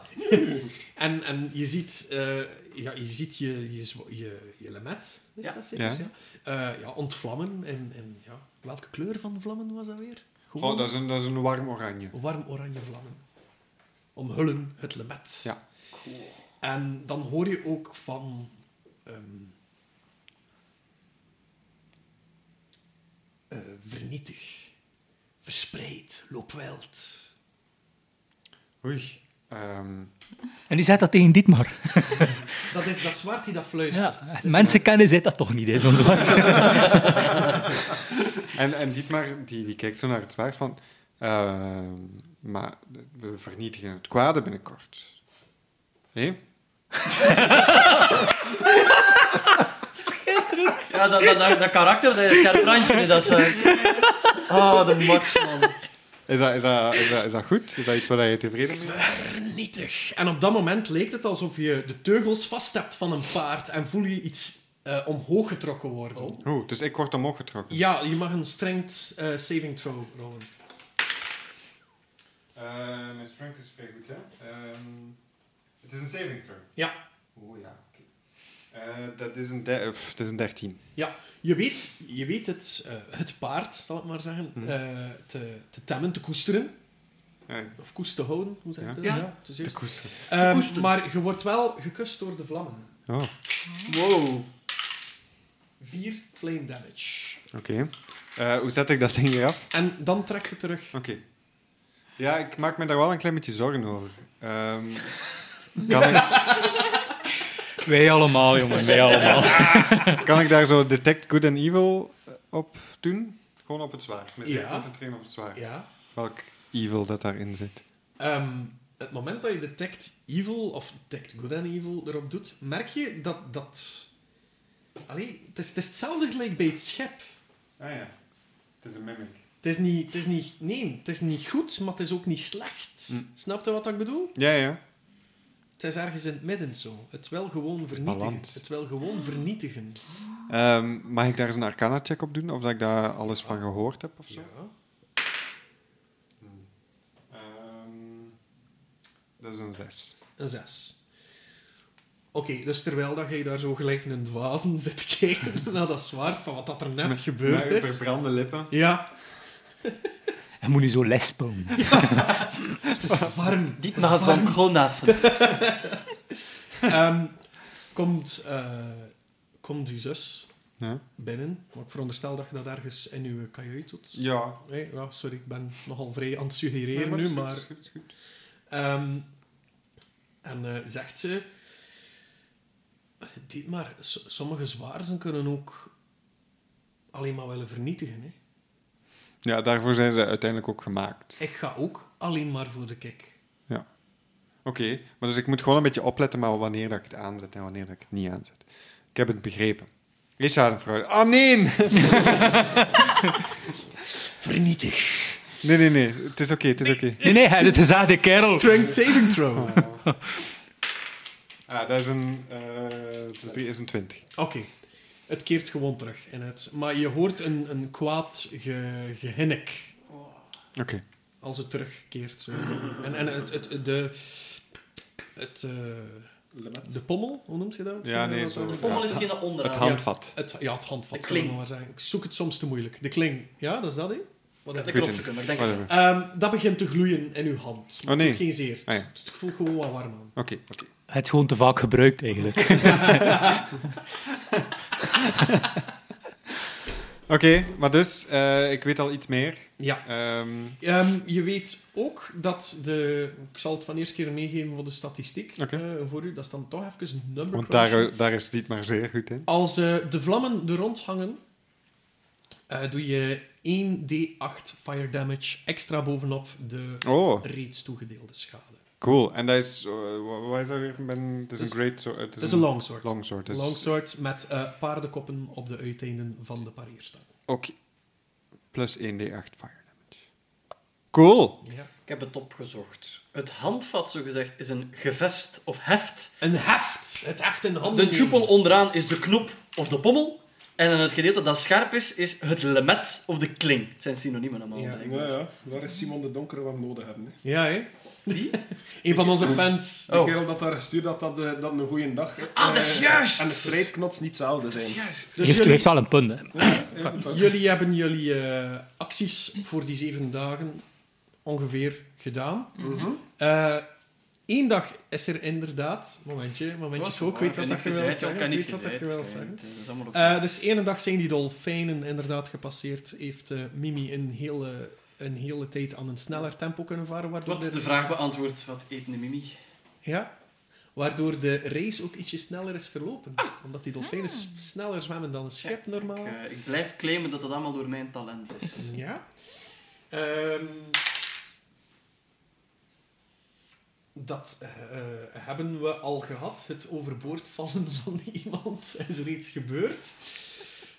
Speaker 1: en, en je ziet, eh, ja, je, ziet je, je, zwa- je, je lemet, is
Speaker 2: Ja.
Speaker 1: dat zeker?
Speaker 3: Ja.
Speaker 1: Ja. Eh, ja, ontvlammen. En, en, ja. Welke kleur van de vlammen was dat weer? Gewoon
Speaker 3: Oh, dat is een, dat is een warm oranje.
Speaker 1: warm oranje vlammen. Omhullen het lemet.
Speaker 3: Ja.
Speaker 1: En dan hoor je ook van... ehm, eh, vernietig, verspreid, loop wild.
Speaker 3: Oei. Ehm,
Speaker 6: En die zegt dat tegen Dietmar.
Speaker 1: Dat is dat zwart die dat
Speaker 6: Ja.
Speaker 1: fluistert. Het is
Speaker 6: Mensen kennen zegt dat toch niet, hè, zo'n zwart.
Speaker 3: en, en Dietmar, die, die kijkt zo naar het zwaard van... ehm, maar we vernietigen het kwade binnenkort. Hé?
Speaker 2: Ja, dat, dat, dat, dat karakter, dat is scherp randje. hè, Dat is, eh. Ah, de max, man.
Speaker 3: Is dat, is, dat, is, dat, is dat goed? Is dat iets waar je tevreden mee bent?
Speaker 1: vernietig. En op dat moment leek het alsof je de teugels vast hebt van een paard en voel je iets eh, omhoog getrokken worden.
Speaker 3: Oeh, dus ik word omhoog getrokken.
Speaker 1: Ja, je mag een strength eh, saving throw rollen.
Speaker 3: Eh, mijn strength is vrij goed, hè? Ehm, het is een saving throw.
Speaker 1: Ja,
Speaker 3: Oh ja, oké. Eh, dat is een, de- pff, dat is een 13.
Speaker 1: ja. je weet, je weet het, eh, het paard, zal ik maar zeggen, eh, te, te temmen, te koesteren.
Speaker 3: Mhm. Ja,
Speaker 1: Of koest te houden, hoe zeg je
Speaker 3: Ja.
Speaker 1: dat?
Speaker 2: Ja.
Speaker 1: het is juist.
Speaker 3: koesteren.
Speaker 1: Ehm, maar je wordt wel gekust door de vlammen.
Speaker 3: Oh,
Speaker 2: Wow.
Speaker 1: Vier flame damage.
Speaker 3: oké. Eh, hoe zet ik dat ding hier af?
Speaker 1: En dan trekt het terug.
Speaker 3: Oké. Ja, ik maak me daar wel een klein beetje zorgen over. Ehm, kan, ik,
Speaker 6: Wij allemaal, jongen, wij allemaal.
Speaker 3: kan ik daar zo detect good and evil eh, op doen? Gewoon op het zwaard. Met
Speaker 1: Ja.
Speaker 3: concentreren op het zwaard.
Speaker 1: Ja.
Speaker 3: Welk evil dat daarin zit.
Speaker 1: Ehm, het moment dat je detect evil, of detect good and evil erop doet, merk je dat... dat... Allee, het is, het is hetzelfde gelijk bij het schep.
Speaker 3: Ah ja, het is een mimic.
Speaker 1: Het is niet... Het is niet nee, het is niet goed, maar het is ook niet slecht.
Speaker 3: Hm.
Speaker 1: Snap je wat ik bedoel?
Speaker 3: Ja, ja.
Speaker 1: Het is ergens in het midden zo. Het wel gewoon vernietigen.
Speaker 3: balans.
Speaker 1: Het, wel gewoon vernietigen.
Speaker 3: Ehm, mag ik daar eens een arcana check op doen? Of dat ik daar alles van gehoord heb of zo?
Speaker 1: Ja.
Speaker 3: Ehm, dat is een 6.
Speaker 1: Een zes. Oké, dus terwijl dat jij daar zo gelijk een dwazen zit kijken naar dat zwaard van wat dat er net gebeurd is...
Speaker 3: verbrande lippen.
Speaker 1: Ja,
Speaker 6: Hij moet nu zo lespen.
Speaker 1: het is warm.
Speaker 2: Dit mag van gewoon af.
Speaker 1: Ehm, komt, eh, komt uw zus
Speaker 3: Ja.
Speaker 1: binnen? Maar ik veronderstel dat je dat ergens in uw kajuit doet.
Speaker 3: ja.
Speaker 1: Nee, ja, sorry, ik ben nogal vrij aan het
Speaker 3: Nee,
Speaker 1: suggereren
Speaker 3: maar het
Speaker 1: nu,
Speaker 3: is goed,
Speaker 1: maar...
Speaker 3: het is goed, het is goed.
Speaker 1: ehm, en eh, zegt ze... Dit maar, s- sommige zwaarden kunnen ook alleen maar willen vernietigen. Hè.
Speaker 3: Ja, daarvoor zijn ze uiteindelijk ook gemaakt.
Speaker 1: Ik ga ook alleen maar voor de kick.
Speaker 3: Oké, maar dus ik moet gewoon een beetje opletten maar wanneer dat ik het aanzet en wanneer dat ik het niet aanzet. Ik heb het begrepen. Is haar een vrouw? Ah, nee!
Speaker 1: Vernietig.
Speaker 3: Nee, nee, nee. Het is oké, het is oké.
Speaker 6: Nee, nee, hij is een gezaagde kerel.
Speaker 1: Oh. Strength saving throw. Oké.
Speaker 3: Ah, dat is een... eh plus drie is een 20.
Speaker 1: Het keert gewoon terug in het. Maar je hoort een, een kwaad ge, gehinnik.
Speaker 3: Oké.
Speaker 1: als het terugkeert. Zo. En, en het, het, het- de, het, eh, de pommel, hoe noemt je dat?
Speaker 3: Ja, nee,
Speaker 1: Wat
Speaker 3: zo.
Speaker 1: dat-
Speaker 2: Pommel is geen
Speaker 3: Het
Speaker 2: onderaan.
Speaker 3: handvat.
Speaker 1: Het, ja, het handvat,
Speaker 2: De
Speaker 1: zullen we
Speaker 2: kling.
Speaker 1: maar zeggen. Ik zoek het soms te moeilijk. De kling, ja, dat is dat, hè? Wat heb
Speaker 2: De
Speaker 1: ik?
Speaker 2: knop zoeken, maar ik denk...
Speaker 3: Whatever.
Speaker 1: Ehm, dat begint te gloeien in uw hand. Maar
Speaker 3: Oh, nee.
Speaker 1: het doet Geen zeer.
Speaker 3: Ah, ja.
Speaker 1: Het het voelt gewoon wat warm aan.
Speaker 3: Oké, oké.
Speaker 6: Hij heeft gewoon te vaak gebruikt, eigenlijk.
Speaker 3: Oké, maar dus, eh, ik weet al iets meer.
Speaker 1: Ja.
Speaker 3: Ehm,
Speaker 1: Ehm, je weet ook dat de... Ik zal het van eerste keer meegeven voor de statistiek
Speaker 3: Oké.
Speaker 1: eh, voor u. Dat is dan toch even een number
Speaker 3: want
Speaker 1: crunching.
Speaker 3: daar, eh, daar is dit maar zeer goed in.
Speaker 1: Als eh, de vlammen er rond hangen, eh, doe je 1d8 fire damage extra bovenop de
Speaker 3: Oh,
Speaker 1: reeds toegedeelde schade.
Speaker 3: cool. En dat is... eh, wa- wat is dat weer? Ben- Het is een
Speaker 1: Dus-
Speaker 3: great sword. Het
Speaker 1: Dat is een longsword.
Speaker 3: longsword. dus-
Speaker 1: Longsword met eh, paardenkoppen op de uiteinden van de parieerstang.
Speaker 3: Oké. Plus 1d8 fire damage. Cool.
Speaker 1: Ja.
Speaker 2: Ik heb het opgezocht. Het handvat, zogezegd, is een gevest of heft.
Speaker 1: Een heft! Het heft in de handen.
Speaker 2: De tjupel onderaan is de knop of de pommel. En dan het gedeelte dat scherp is, is het lemet of de kling. Het zijn synoniemen allemaal.
Speaker 1: Ja.
Speaker 2: eigenlijk.
Speaker 4: Ja, ja. Daar is Simon de Donkere wat we nodig hebben. Hè.
Speaker 1: Ja, hè?
Speaker 2: Die?
Speaker 1: Een van onze fans.
Speaker 4: De
Speaker 2: Oh.
Speaker 4: kerel dat daar gestuurd had, dat, eh, dat een goede dag.
Speaker 2: Ah, dat is
Speaker 4: eh,
Speaker 2: juist!
Speaker 4: En de strijdknots niet hetzelfde
Speaker 2: Dat is
Speaker 4: zijn.
Speaker 2: juist.
Speaker 1: Dus
Speaker 6: heeft,
Speaker 1: jullie,
Speaker 6: heeft wel een punt. hè.
Speaker 1: jullie hebben jullie eh, acties voor die zeven dagen ongeveer gedaan.
Speaker 4: Mhm.
Speaker 1: Eén dag is er inderdaad... Momentje, momentje. Ik ook weet wat dat je wilt zeggen. Ik weet wat dat je wilt zeggen.
Speaker 2: Dat is allemaal op-
Speaker 1: Eh, dus één dag zijn die dolfijnen inderdaad gepasseerd. Heeft eh, Mimi een hele, een hele tijd aan een sneller tempo kunnen varen. Waardoor
Speaker 2: Wat is de vraag beantwoord? Wat eet een mimi?
Speaker 1: Ja. Waardoor de race ook ietsje sneller is verlopen.
Speaker 2: Ah.
Speaker 1: Omdat die dolfijnen s- sneller zwemmen dan een schip
Speaker 2: Ik,
Speaker 1: normaal.
Speaker 2: eh, ik blijf claimen dat dat allemaal door mijn talent is.
Speaker 1: Ja. Ehm, dat eh, hebben we al gehad. Het overboord vallen van iemand is reeds gebeurd.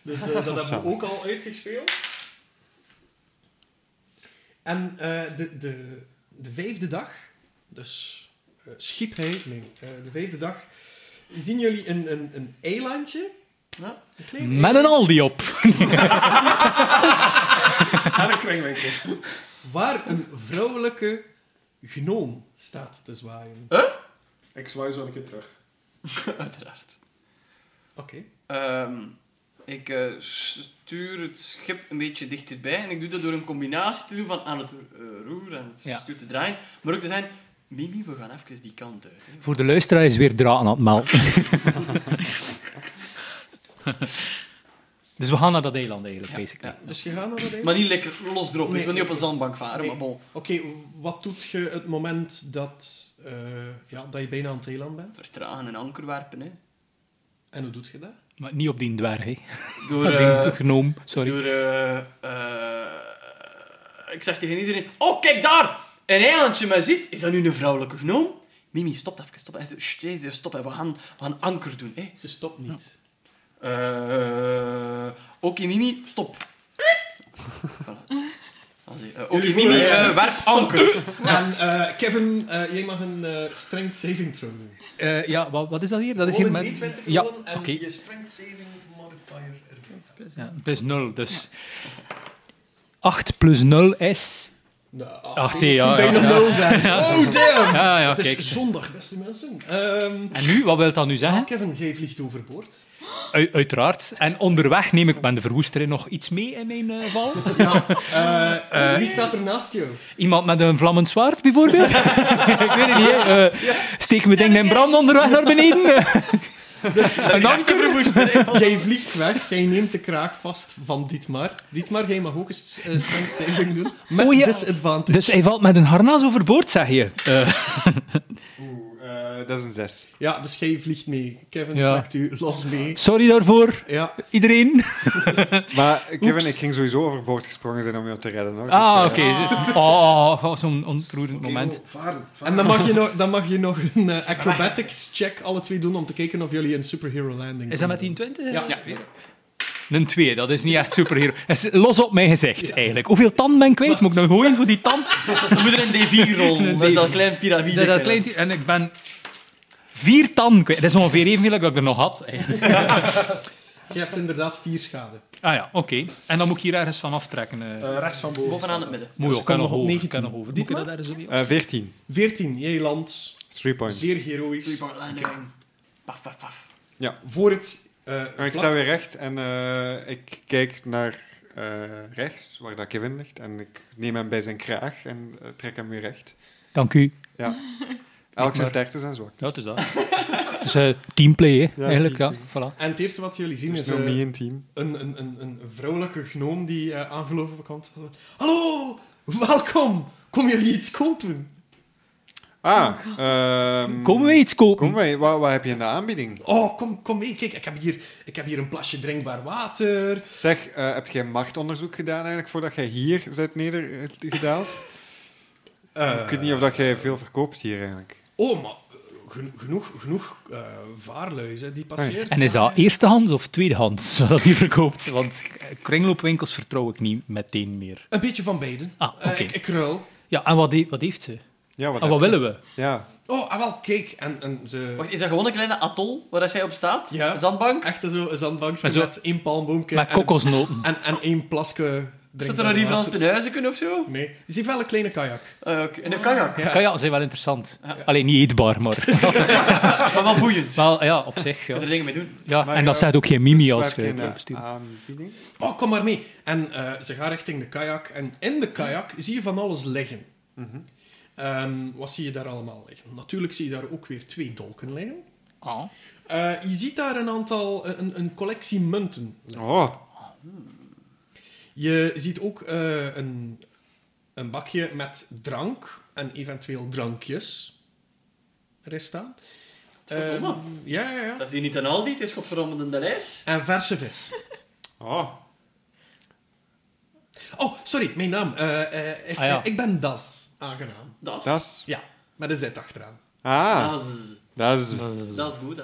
Speaker 1: Dus eh, dat hebben we ook al uitgespeeld. En eh, de, de, de vijfde dag, dus eh, schipheiding, eh, de vijfde dag, zien jullie een, een, een eilandje.
Speaker 2: Ja.
Speaker 1: Een klein
Speaker 6: Met een Aldi op.
Speaker 4: En een kringwinkel.
Speaker 1: waar een vrouwelijke gnoom staat te zwaaien.
Speaker 4: Ik zwaai zo een keer terug.
Speaker 2: Uiteraard.
Speaker 1: Oké.
Speaker 2: Ehm, ik eh, stuur het schip een beetje dichterbij. En ik doe dat door een combinatie te doen van aan het eh, roer, aan het
Speaker 6: Ja.
Speaker 2: stuur te draaien. Maar ook te zijn, Mimi, we gaan even die kant uit. Hè.
Speaker 6: Voor de luisteraar is weer draad aan het melken. dus we gaan naar dat eiland eigenlijk, basically.
Speaker 1: Dus je gaat naar dat eiland?
Speaker 2: Maar niet lekker los erop.
Speaker 1: Nee,
Speaker 2: ik wil
Speaker 1: nee.
Speaker 2: niet op een zandbank varen,
Speaker 1: Nee.
Speaker 2: maar bon.
Speaker 1: Oké, wat doet je het moment dat, eh, ja, dat je bijna aan het eiland bent?
Speaker 2: Vertragen en anker werpen, hè.
Speaker 1: En hoe doet je dat?
Speaker 6: Maar niet op die dwerg, hè.
Speaker 2: Door,
Speaker 6: Maar
Speaker 2: eh,
Speaker 6: die genoom, sorry.
Speaker 2: door eh, eh, ik zeg tegen iedereen, oh kijk daar, een eilandje mij ziet. Is dat nu een vrouwelijke gnoom? Mimi, stop even, stop. En ze, "Sst, Jezus, stop, hè. we gaan, we gaan anker doen. Hè.
Speaker 1: Ze stopt niet.
Speaker 2: Eh, Oké, Mimi, stop. Voilà. Als je- eh, Oké,
Speaker 1: Jullie
Speaker 2: Mimi,
Speaker 1: voelen-
Speaker 2: eh werp anker.
Speaker 1: En eh, Kevin, eh, jij mag een eh strength saving throw doen.
Speaker 6: Eh, ja, wat, wat is dat hier? Dat is
Speaker 1: Gewoon
Speaker 6: hier
Speaker 1: een
Speaker 6: met...
Speaker 1: D20
Speaker 6: Ja,
Speaker 1: rollen en
Speaker 6: oké.
Speaker 1: je strength saving modifier erbij.
Speaker 6: Ja, plus 0, dus... 8 plus 0 is...
Speaker 1: Nou,
Speaker 6: Ach,
Speaker 1: ik
Speaker 6: nee, ja,
Speaker 1: kan
Speaker 6: ja,
Speaker 1: bijna
Speaker 6: ja.
Speaker 1: nul zijn. Oh, damn!
Speaker 6: Ja, ja,
Speaker 1: het is
Speaker 6: kijk.
Speaker 1: zondag, beste mensen. Ehm,
Speaker 6: En nu, wat wil dat nu zeggen?
Speaker 1: Kevin, jij vliegt overboord.
Speaker 6: U- uiteraard. En onderweg neem ik met de verwoester nog iets mee in mijn eh, val.
Speaker 1: Ja. Eh, wie staat er naast jou?
Speaker 6: Iemand met een vlammend zwaard, bijvoorbeeld. ik weet het niet. hè. Eh, Steek mijn ding in brand onderweg naar beneden.
Speaker 1: Dus,
Speaker 6: een anker.
Speaker 1: Jij vliegt weg, jij neemt de kraag vast van Dietmar. Dietmar, jij mag ook een s- eh, strength saving doen. Met
Speaker 6: Oh ja.
Speaker 1: disadvantage.
Speaker 6: Dus hij valt met een harnas overboord, zeg je. Eh,
Speaker 3: Oeh, eh, dat is een 6.
Speaker 1: Ja, dus jij vliegt mee. Kevin
Speaker 6: Ja.
Speaker 1: trekt u los mee.
Speaker 6: sorry daarvoor,
Speaker 1: Ja,
Speaker 6: iedereen.
Speaker 3: Maar eh, Kevin, ik ging sowieso overboord gesprongen zijn om jou te redden. Hoor.
Speaker 6: Ah,
Speaker 3: Dus,
Speaker 6: oké.
Speaker 3: eh,
Speaker 6: ze- Oh, oh, zo'n ontroerend
Speaker 4: Oké,
Speaker 6: moment.
Speaker 4: joh, Varen, varen.
Speaker 1: en dan mag je nog, dan mag je nog een eh, acrobatics check alle twee doen om te kijken of jullie een superhero landing
Speaker 6: Is dat met
Speaker 1: kunnen
Speaker 6: 1020?
Speaker 1: Ja.
Speaker 6: Een 2, dat is niet echt superhero. Dat is los op mijn gezicht, eigenlijk. Hoeveel tand ben ik kwijt? Moet ik nou gooien voor die tand?
Speaker 2: We moeten een D4 rollen. Dat is dat klein piramide.
Speaker 6: Dat, dat kleintje- en ik ben vier tanden kwijt. Dat is ongeveer evenveel als ik er nog had. eigenlijk.
Speaker 1: doen. Je hebt inderdaad vier schade.
Speaker 6: Ah ja, oké. En dan moet ik hier ergens van aftrekken. eh.
Speaker 4: Eh, rechts van boven.
Speaker 2: Bovenaan
Speaker 4: staat
Speaker 2: het midden.
Speaker 6: Mooi,
Speaker 1: Dus
Speaker 6: ik
Speaker 1: kan
Speaker 6: kan nog
Speaker 1: nog op
Speaker 6: over.
Speaker 1: 19.
Speaker 6: ik Kan nog over. Moet
Speaker 1: Dietmar?
Speaker 6: je dat daar eens op? ja?
Speaker 3: eh, 14.
Speaker 1: 14, jij landt
Speaker 3: 3 points.
Speaker 1: zeer heroïs.
Speaker 2: Three-point landing. Paf, paf, paf.
Speaker 1: Voor het eh,
Speaker 3: Maar ik
Speaker 1: vlak-
Speaker 3: sta weer recht en eh, ik kijk naar eh, rechts, waar dat Kevin ligt. En ik neem hem bij zijn kraag en eh, trek hem weer recht.
Speaker 6: Dank u.
Speaker 3: Ja. Elk zijn sterktes en zwak.
Speaker 6: Dat is dat. Dus eh, teamplay, hè,
Speaker 3: Ja,
Speaker 6: eigenlijk. Ja,
Speaker 3: teamplay.
Speaker 6: voilà.
Speaker 1: En het eerste wat jullie zien
Speaker 3: Dus
Speaker 1: is
Speaker 3: nog
Speaker 1: eh,
Speaker 3: niet in team.
Speaker 1: een, een, een, een vrouwelijke gnoom die eh, aangelopen bekant had. Hallo, welkom. Kom jullie iets kopen?
Speaker 3: Ah, ehm,
Speaker 6: Komen we iets kopen?
Speaker 3: Kom mee. Wat, wat heb je in de aanbieding?
Speaker 1: Oh, kom, kom mee. Kijk, ik heb, hier, ik heb hier een plasje drinkbaar water.
Speaker 3: Zeg, eh, heb jij marktonderzoek gedaan eigenlijk voordat jij hier bent nedergedaald?
Speaker 1: Eh,
Speaker 3: ik weet niet of dat jij veel verkoopt hier eigenlijk.
Speaker 1: Oh, maar eh, geno- genoeg, genoeg eh vaarluis hè, die passeert. Eh,
Speaker 6: En is dat eerstehands of tweedehands wat dat hier verkoopt? Want eh, kringloopwinkels vertrouw ik niet meteen meer.
Speaker 1: Een beetje van beiden.
Speaker 6: Ah,
Speaker 1: Eh,
Speaker 6: oké.
Speaker 1: ik, ik ruil.
Speaker 6: Ja, en wat, he- wat heeft ze?
Speaker 3: Ja, wat,
Speaker 6: En Ah, wat
Speaker 3: heb je?
Speaker 6: willen we?
Speaker 3: Ja.
Speaker 1: Oh, ah, wel, kijk. En, en ze...
Speaker 2: Wacht, is dat gewoon een kleine atol waar zij op staat?
Speaker 1: Ja.
Speaker 2: Een zandbank?
Speaker 1: Echt zo, een zandbankje
Speaker 6: En zo-
Speaker 1: met één palmboomke
Speaker 6: Met
Speaker 1: en,
Speaker 6: kokosnoten.
Speaker 1: en, en één plaske
Speaker 2: Zit er
Speaker 1: drinkbaar
Speaker 2: nog niet van ons
Speaker 1: water.
Speaker 2: ten huizen kunnen of zo?
Speaker 1: Nee. Ze heeft wel een kleine kajak.
Speaker 2: Ah, oké. In een kajak.
Speaker 1: Ja.
Speaker 6: Kajakken zijn wel interessant. Alleen niet eetbaar, maar
Speaker 2: Ah, Maar wel boeiend. Je
Speaker 6: wel, ja, op zich. Ja.
Speaker 2: kunt er dingen mee doen.
Speaker 6: Ja,
Speaker 3: Maar
Speaker 6: en dat
Speaker 3: ja,
Speaker 6: zegt ook geen
Speaker 3: Dus
Speaker 6: mimi als
Speaker 3: waar
Speaker 6: je
Speaker 3: geen, eh,
Speaker 6: blijft sturen.
Speaker 3: aanbieding?
Speaker 1: Oh, kom maar mee. En eh, ze gaat richting de kajak. En in de kajak zie je van alles liggen. Ehm, wat zie je daar allemaal liggen? Natuurlijk zie je daar ook weer twee dolken liggen.
Speaker 6: Ah.
Speaker 1: Eh, je ziet daar een aantal, een, een collectie munten.
Speaker 3: Oh,
Speaker 1: Je ziet ook eh, een, een bakje met drank en eventueel drankjes. Er is staan.
Speaker 2: Godverdomme.
Speaker 1: Ehm, ja, ja, ja.
Speaker 2: Dat is hier niet een Aldi, het is godverdomme de Delijs.
Speaker 1: En verse vis.
Speaker 3: oh.
Speaker 1: Oh, sorry, mijn naam. Eh, eh, ik,
Speaker 6: Ah, ja.
Speaker 1: ik ben Das. Aangenaam.
Speaker 2: Dat
Speaker 3: Dat
Speaker 2: is...
Speaker 3: is...
Speaker 1: Ja, met een zet achteraan.
Speaker 3: Ah,
Speaker 2: Dat is...
Speaker 3: dat is
Speaker 2: Dat is goed, hè.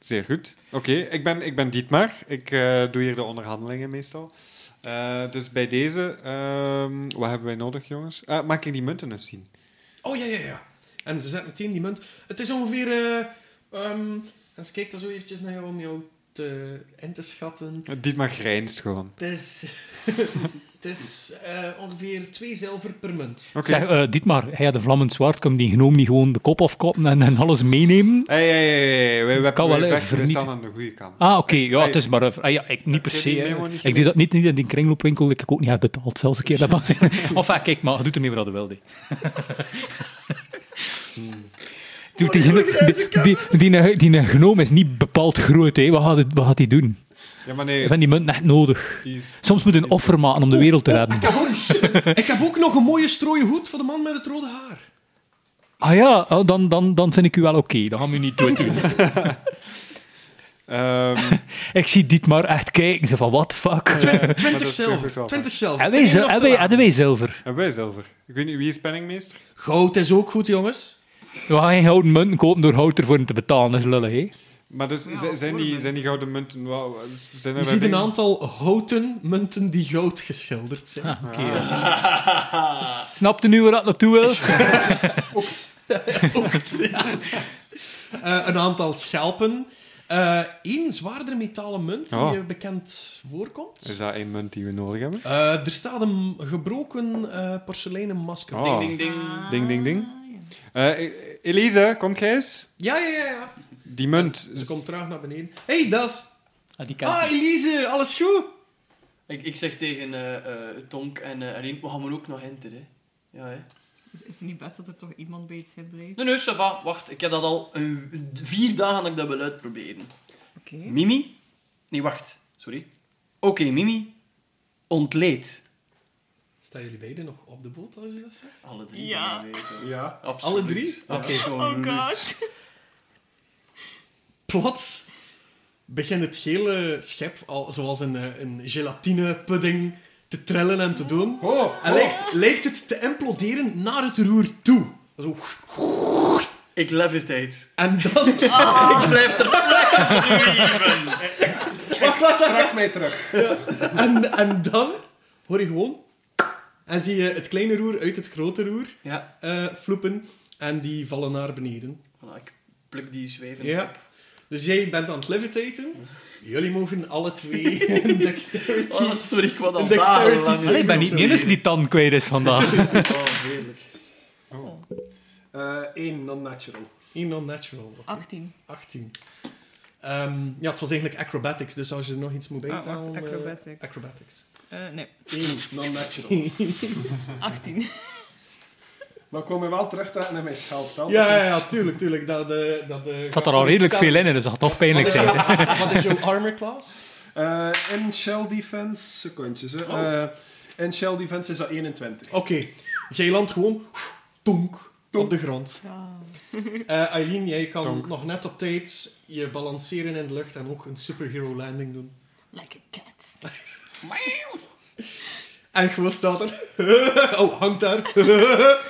Speaker 3: zeer goed. Oké, ik, ben, ik ben Dietmar. Ik eh, doe hier de onderhandelingen meestal. Eh, dus bij deze, ehm, wat hebben wij nodig, jongens? Eh mag ik die munten eens zien?
Speaker 1: Oh ja, ja, ja. En ze zet meteen die munt. Het is ongeveer. eh ehm, en ze kijkt er zo eventjes naar jou om jou te, in te schatten.
Speaker 3: Eh, Dietmar grijnst gewoon.
Speaker 1: Het is, het is eh, ongeveer twee zilver per munt.
Speaker 3: Oké.
Speaker 6: Zeg, eh, Dietmar, hij had een vlammend zwaard, kan die gnoom niet gewoon de kop afkappen en, en alles meenemen?
Speaker 3: Hey, hey, hey, hey, wij, wij,
Speaker 6: Kan wel,
Speaker 3: wij-
Speaker 6: hè,
Speaker 3: wij- wij
Speaker 6: vernieten.
Speaker 3: staan aan de goede kant.
Speaker 6: Ah, oké, ja,
Speaker 3: Hey.
Speaker 6: het is maar... een- ah, ja, ik, niet per
Speaker 3: je
Speaker 6: se.
Speaker 3: die
Speaker 6: hè.
Speaker 3: memo niet
Speaker 6: Ik deed dat niet, niet in die kringloopwinkel, ik heb ook niet heb betaald, zelfs een keer. Dat mag. enfin, kijk, maar je doet ermee wat je wil. hè.
Speaker 3: Hmm. Oh,
Speaker 6: Doet die, die, die, die, die gnoom is niet bepaald groot, hè. Wat, gaat het, wat gaat die doen?
Speaker 3: Ja, maar
Speaker 6: Ik
Speaker 3: nee,
Speaker 6: vind die munt echt nodig.
Speaker 3: die is...
Speaker 6: Soms moet je een offer maken om de wereld te
Speaker 1: Oh,
Speaker 6: redden.
Speaker 1: ik, heb ook, ik heb ook nog een mooie strooie hoed voor de man met het rode haar.
Speaker 6: Ah ja, oh, dan, dan, dan vind ik u wel oké. Dan gaan we u niet dood doen.
Speaker 3: ehm,
Speaker 6: Ik zie dit maar echt kijken. Ze van, what the fuck?
Speaker 3: dat
Speaker 1: Twintig
Speaker 3: is goed
Speaker 1: zilver.
Speaker 3: wel.
Speaker 1: Twintig zilver.
Speaker 6: Hebben wij
Speaker 1: Tegen
Speaker 6: zil-
Speaker 1: of te
Speaker 6: hebben wij-
Speaker 1: laten.
Speaker 6: hebben wij zilver?
Speaker 3: hebben wij zilver? Ik weet niet, wie is penningmeester?
Speaker 1: Goud is ook goed, jongens.
Speaker 6: We gaan geen gouden munten kopen door hout ervoor te betalen. Dat is lullig, hè?
Speaker 3: Maar dus, zi- zijn, die, zijn die gouden munten... wel- Zijn er
Speaker 1: Je
Speaker 3: wel
Speaker 1: ziet een
Speaker 3: dingen-
Speaker 1: aantal houten munten die goud geschilderd zijn.
Speaker 6: Ah, oké, ja. Snapt u nu waar dat naartoe wil?
Speaker 1: Ook het, ja. Eh, een aantal schelpen. Eén zwaarder metalen munt die
Speaker 3: Oh.
Speaker 1: je bekend voorkomt.
Speaker 3: Is dat één munt die we nodig hebben?
Speaker 1: Eh, er staat een gebroken eh porseleinen masker.
Speaker 3: Oh.
Speaker 2: Ding, ding.
Speaker 3: Ding, ding, ding. Eh, eh, Elise, komt jij eens?
Speaker 1: Ja, ja, ja, ja.
Speaker 3: Die munt.
Speaker 1: Ze komt traag naar beneden. hey, Das.
Speaker 6: Ah, die kan
Speaker 1: Ah, Elise, alles goed?
Speaker 2: Ik, ik zeg tegen eh, eh, Tonk en eh Rien, we gaan maar ook nog enter, hè. Ja, hè.
Speaker 5: Is het niet best dat er toch iemand bij iets heeft blijven?
Speaker 2: Nee, nee, ça va. Wacht, ik heb dat al een, vier dagen dat ik dat wil uitproberen.
Speaker 5: Oké.
Speaker 2: Mimi? Nee, wacht. Sorry. Oké, Mimi. Ontleed.
Speaker 1: Staan jullie beiden nog op de boot als je dat zegt?
Speaker 2: Alle drie.
Speaker 5: Ja.
Speaker 2: je weet wel.
Speaker 4: Ja.
Speaker 2: Absoluut.
Speaker 1: Alle drie? Oké.
Speaker 5: Oh
Speaker 2: Absoluut.
Speaker 5: god.
Speaker 1: Plots begint het hele schep, al, zoals een, eh, een gelatine pudding, te trillen en te doen.
Speaker 3: Oh,
Speaker 1: En lijkt, lijkt het te imploderen naar het roer toe. Zo.
Speaker 2: Ik levitate.
Speaker 1: En dan...
Speaker 5: Ah.
Speaker 2: Ik blijf er
Speaker 1: Wacht, wacht, wacht.
Speaker 4: Trek mij terug.
Speaker 1: En, en dan hoor je gewoon... En zie je het kleine roer uit het grote roer
Speaker 2: Ja.
Speaker 1: eh floepen. En die vallen naar beneden.
Speaker 2: Voilà, ik pluk die zweven
Speaker 1: Ja.
Speaker 2: op.
Speaker 1: Dus jij bent aan het levitaten. Jullie mogen alle twee een dexterity...
Speaker 2: Oh, sorry, ik was al
Speaker 1: Een dexterity
Speaker 2: dagenlang-
Speaker 1: save.
Speaker 6: ik ben niet de enige die tand kwijt is vandaag.
Speaker 2: Oh, heerlijk.
Speaker 4: Eén Oh. Eh, non-natural.
Speaker 1: Eén non-natural.
Speaker 5: 18.
Speaker 1: 18. Ehm, ja, het was eigenlijk acrobatics. Dus als je er nog iets moet
Speaker 5: Ah, wacht,
Speaker 1: bijtalen... eh,
Speaker 5: acrobatics.
Speaker 1: acrobatics.
Speaker 5: Eh, nee,
Speaker 4: Eén non-natural.
Speaker 5: 18.
Speaker 4: Maar kom je wel terug aan mijn schelp. dat
Speaker 1: Ja, ja,
Speaker 4: is-
Speaker 1: ja, tuurlijk, tuurlijk. Dat, eh dat, eh
Speaker 6: Er zat er al redelijk veel in, dus dat gaat toch pijnlijk zijn. hè.
Speaker 1: Wat is jouw armor class?
Speaker 4: Eh, in shell defense, secondjes. Hè. Eh, in shell defense is dat 21.
Speaker 1: Oké, jij landt gewoon tonk, op de grond.
Speaker 5: Ja.
Speaker 1: Eh Aileen, jij kan
Speaker 3: Tonk.
Speaker 1: nog net op tijd je balanceren in de lucht en ook een superhero landing doen.
Speaker 5: Like a cat.
Speaker 1: En gewoon staat er. oh, hangt daar.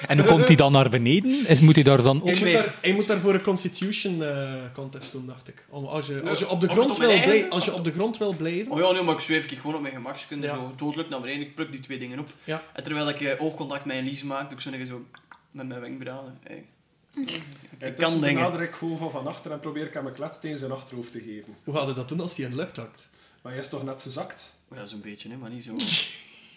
Speaker 6: En hoe komt hij dan naar beneden? Is, moet hij daar dan ook...
Speaker 1: Hij moet,
Speaker 2: zweef.
Speaker 1: daar, hij moet daarvoor een constitution eh, contest doen, dacht ik. Om, als, je, als, je op de
Speaker 2: Of
Speaker 1: grond
Speaker 2: het op
Speaker 1: wil
Speaker 2: mijn eigen-
Speaker 1: blij- als je op de grond wil blijven...
Speaker 2: Oh ja, nee, maar ik zweef ik gewoon op mijn gemakskunde.
Speaker 1: Ja.
Speaker 2: Zo dodelijk naar beneden. Ik pluk die twee dingen op.
Speaker 1: Ja.
Speaker 2: En terwijl ik eh, oogcontact met Elise maak, doe ik zo nog eens zo... met mijn wenkbrauwen. Hey.
Speaker 4: En
Speaker 2: Ik
Speaker 4: tussen
Speaker 2: kan dingen.
Speaker 4: benader ik Gogo van achter en probeer ik hem een kletsteen zijn achterhoofd te geven.
Speaker 1: Hoe gaat hij dat doen als hij in de lucht hakt?
Speaker 4: Maar hij is toch net gezakt?
Speaker 2: Ja, zo'n beetje, hè, maar niet zo.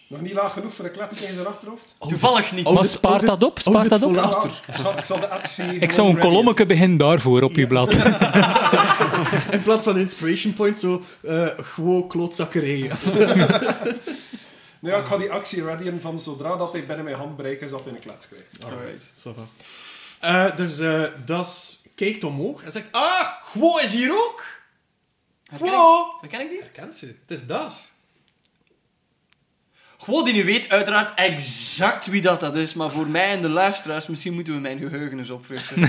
Speaker 4: Nog niet laag genoeg voor een kletsteen zijn achterhoofd?
Speaker 2: Toevallig niet.
Speaker 6: Oh,
Speaker 1: oh,
Speaker 6: Maar spaart dat op? Spaart dat op?
Speaker 4: Nou, ik, zal, ik zal de actie...
Speaker 6: Ik
Speaker 4: gewoon
Speaker 6: zou een
Speaker 4: ready-
Speaker 6: kolommetje beginnen daarvoor op je blad.
Speaker 1: In plaats van inspiration point, zo eh gewoon klootzakkerij.
Speaker 4: Nou ja, ik ga die actie readyen van zodra dat hij binnen mijn handbereik is, dat hij een klets krijgt.
Speaker 2: Alright.
Speaker 1: Ça va. Eh, dus eh Das kijkt omhoog en zegt: Ah, Gwo is hier ook!
Speaker 2: Herken ik-
Speaker 1: Gwo!
Speaker 2: Herken ik die?
Speaker 1: Herkent ze? Het is Das.
Speaker 2: Gewoon die nu weet uiteraard exact wie dat, dat is, maar voor mij en de luisteraars, misschien moeten we mijn geheugen eens opfrissen.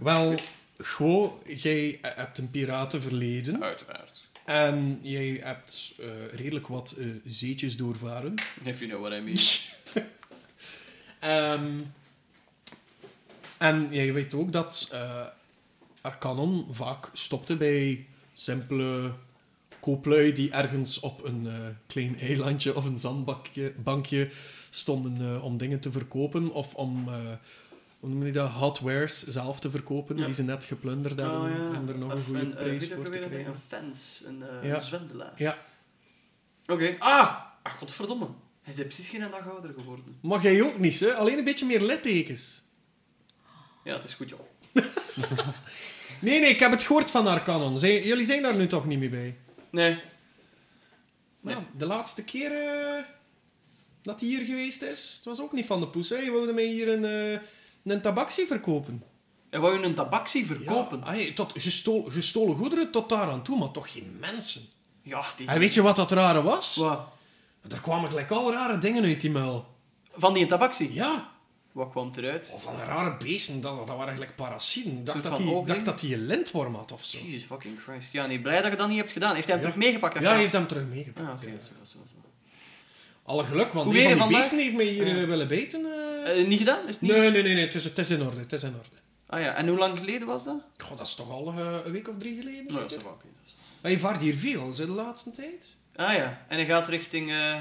Speaker 1: Wel, Gwo, jij eh, hebt een piratenverleden.
Speaker 2: uiteraard.
Speaker 1: En jij hebt eh, redelijk wat eh, zeetjes doorvaren.
Speaker 2: If you know what I mean.
Speaker 1: Ehm, en jij weet ook dat eh Arcanon vaak stopte bij simpele kooplui die ergens op een eh, klein eilandje of een zandbankje bankje stonden eh, om dingen te verkopen of om eh hoe noem je dat, hotwares zelf te verkopen
Speaker 2: Ja.
Speaker 1: die ze net geplunderd hebben
Speaker 2: Oh,
Speaker 1: en er nog een eh, goede
Speaker 2: eh,
Speaker 1: prijs voor te krijgen.
Speaker 2: Een fans, een, eh,
Speaker 1: Ja.
Speaker 2: een zwendelaar.
Speaker 1: Ja.
Speaker 2: Oké. Ah! Ah, godverdomme. Hij is precies geen dag ouder geworden.
Speaker 1: Mag jij ook niet, hè? Alleen een beetje meer littekens.
Speaker 2: Ja, het is goed, joh.
Speaker 1: Nee, nee, ik heb het gehoord van Arcanon. Zij- jullie zijn daar nu toch niet meer bij?
Speaker 2: Nee. Nee.
Speaker 1: Nou, de laatste keer eh, dat hij hier geweest is, het was ook niet van de poes. Hè. Hij wilde mij hier een, eh een tabaksie verkopen.
Speaker 2: Hij wou je een tabaksie verkopen.
Speaker 1: Ja, ai, tot gesto- gestolen goederen tot daar aan toe, maar toch geen mensen.
Speaker 2: Ja, die...
Speaker 1: En weet je wat dat rare was?
Speaker 2: Wat?
Speaker 1: Er kwamen gelijk al rare dingen uit die muil.
Speaker 2: Van die tabaksie?
Speaker 1: Ja,
Speaker 2: Wat kwam eruit?
Speaker 1: of van rare beesten, dat, dat waren gelijk parasieten. Ik dacht
Speaker 2: Soort
Speaker 1: dat
Speaker 2: van
Speaker 1: die- ik
Speaker 2: oogding?
Speaker 1: dacht dat hij een lintworm had of zo.
Speaker 2: Jesus fucking Christ. Ja, nee, blij dat je dat niet hebt gedaan. Heeft hij hem
Speaker 1: Ja.
Speaker 2: terug meegepakt?
Speaker 1: Ja,
Speaker 2: achteraf?
Speaker 1: hij heeft hem terug
Speaker 2: Ah,
Speaker 1: meegepakt.
Speaker 2: oké.
Speaker 1: ja.
Speaker 2: dat is wel- dat is wel- dat is wel.
Speaker 1: Alle geluk, want
Speaker 2: Hoe
Speaker 1: een
Speaker 2: weer
Speaker 1: van die
Speaker 2: vandaag?
Speaker 1: beesten heeft mij hier
Speaker 2: Ja.
Speaker 1: eh, willen bijten. eh.
Speaker 2: Eh, niet gedaan? Is het niet?
Speaker 1: nee, nee, nee, nee het, is, het is in orde. Het is in orde.
Speaker 2: Ah ja, en hoe lang geleden was dat?
Speaker 1: Goh, dat is toch al eh, een week of drie geleden?
Speaker 2: Nou, dat
Speaker 1: zeker?
Speaker 2: is wel oké.
Speaker 1: Maar je vaart hier veel ze, de laatste tijd.
Speaker 2: Ah ja, en hij gaat richting... eh,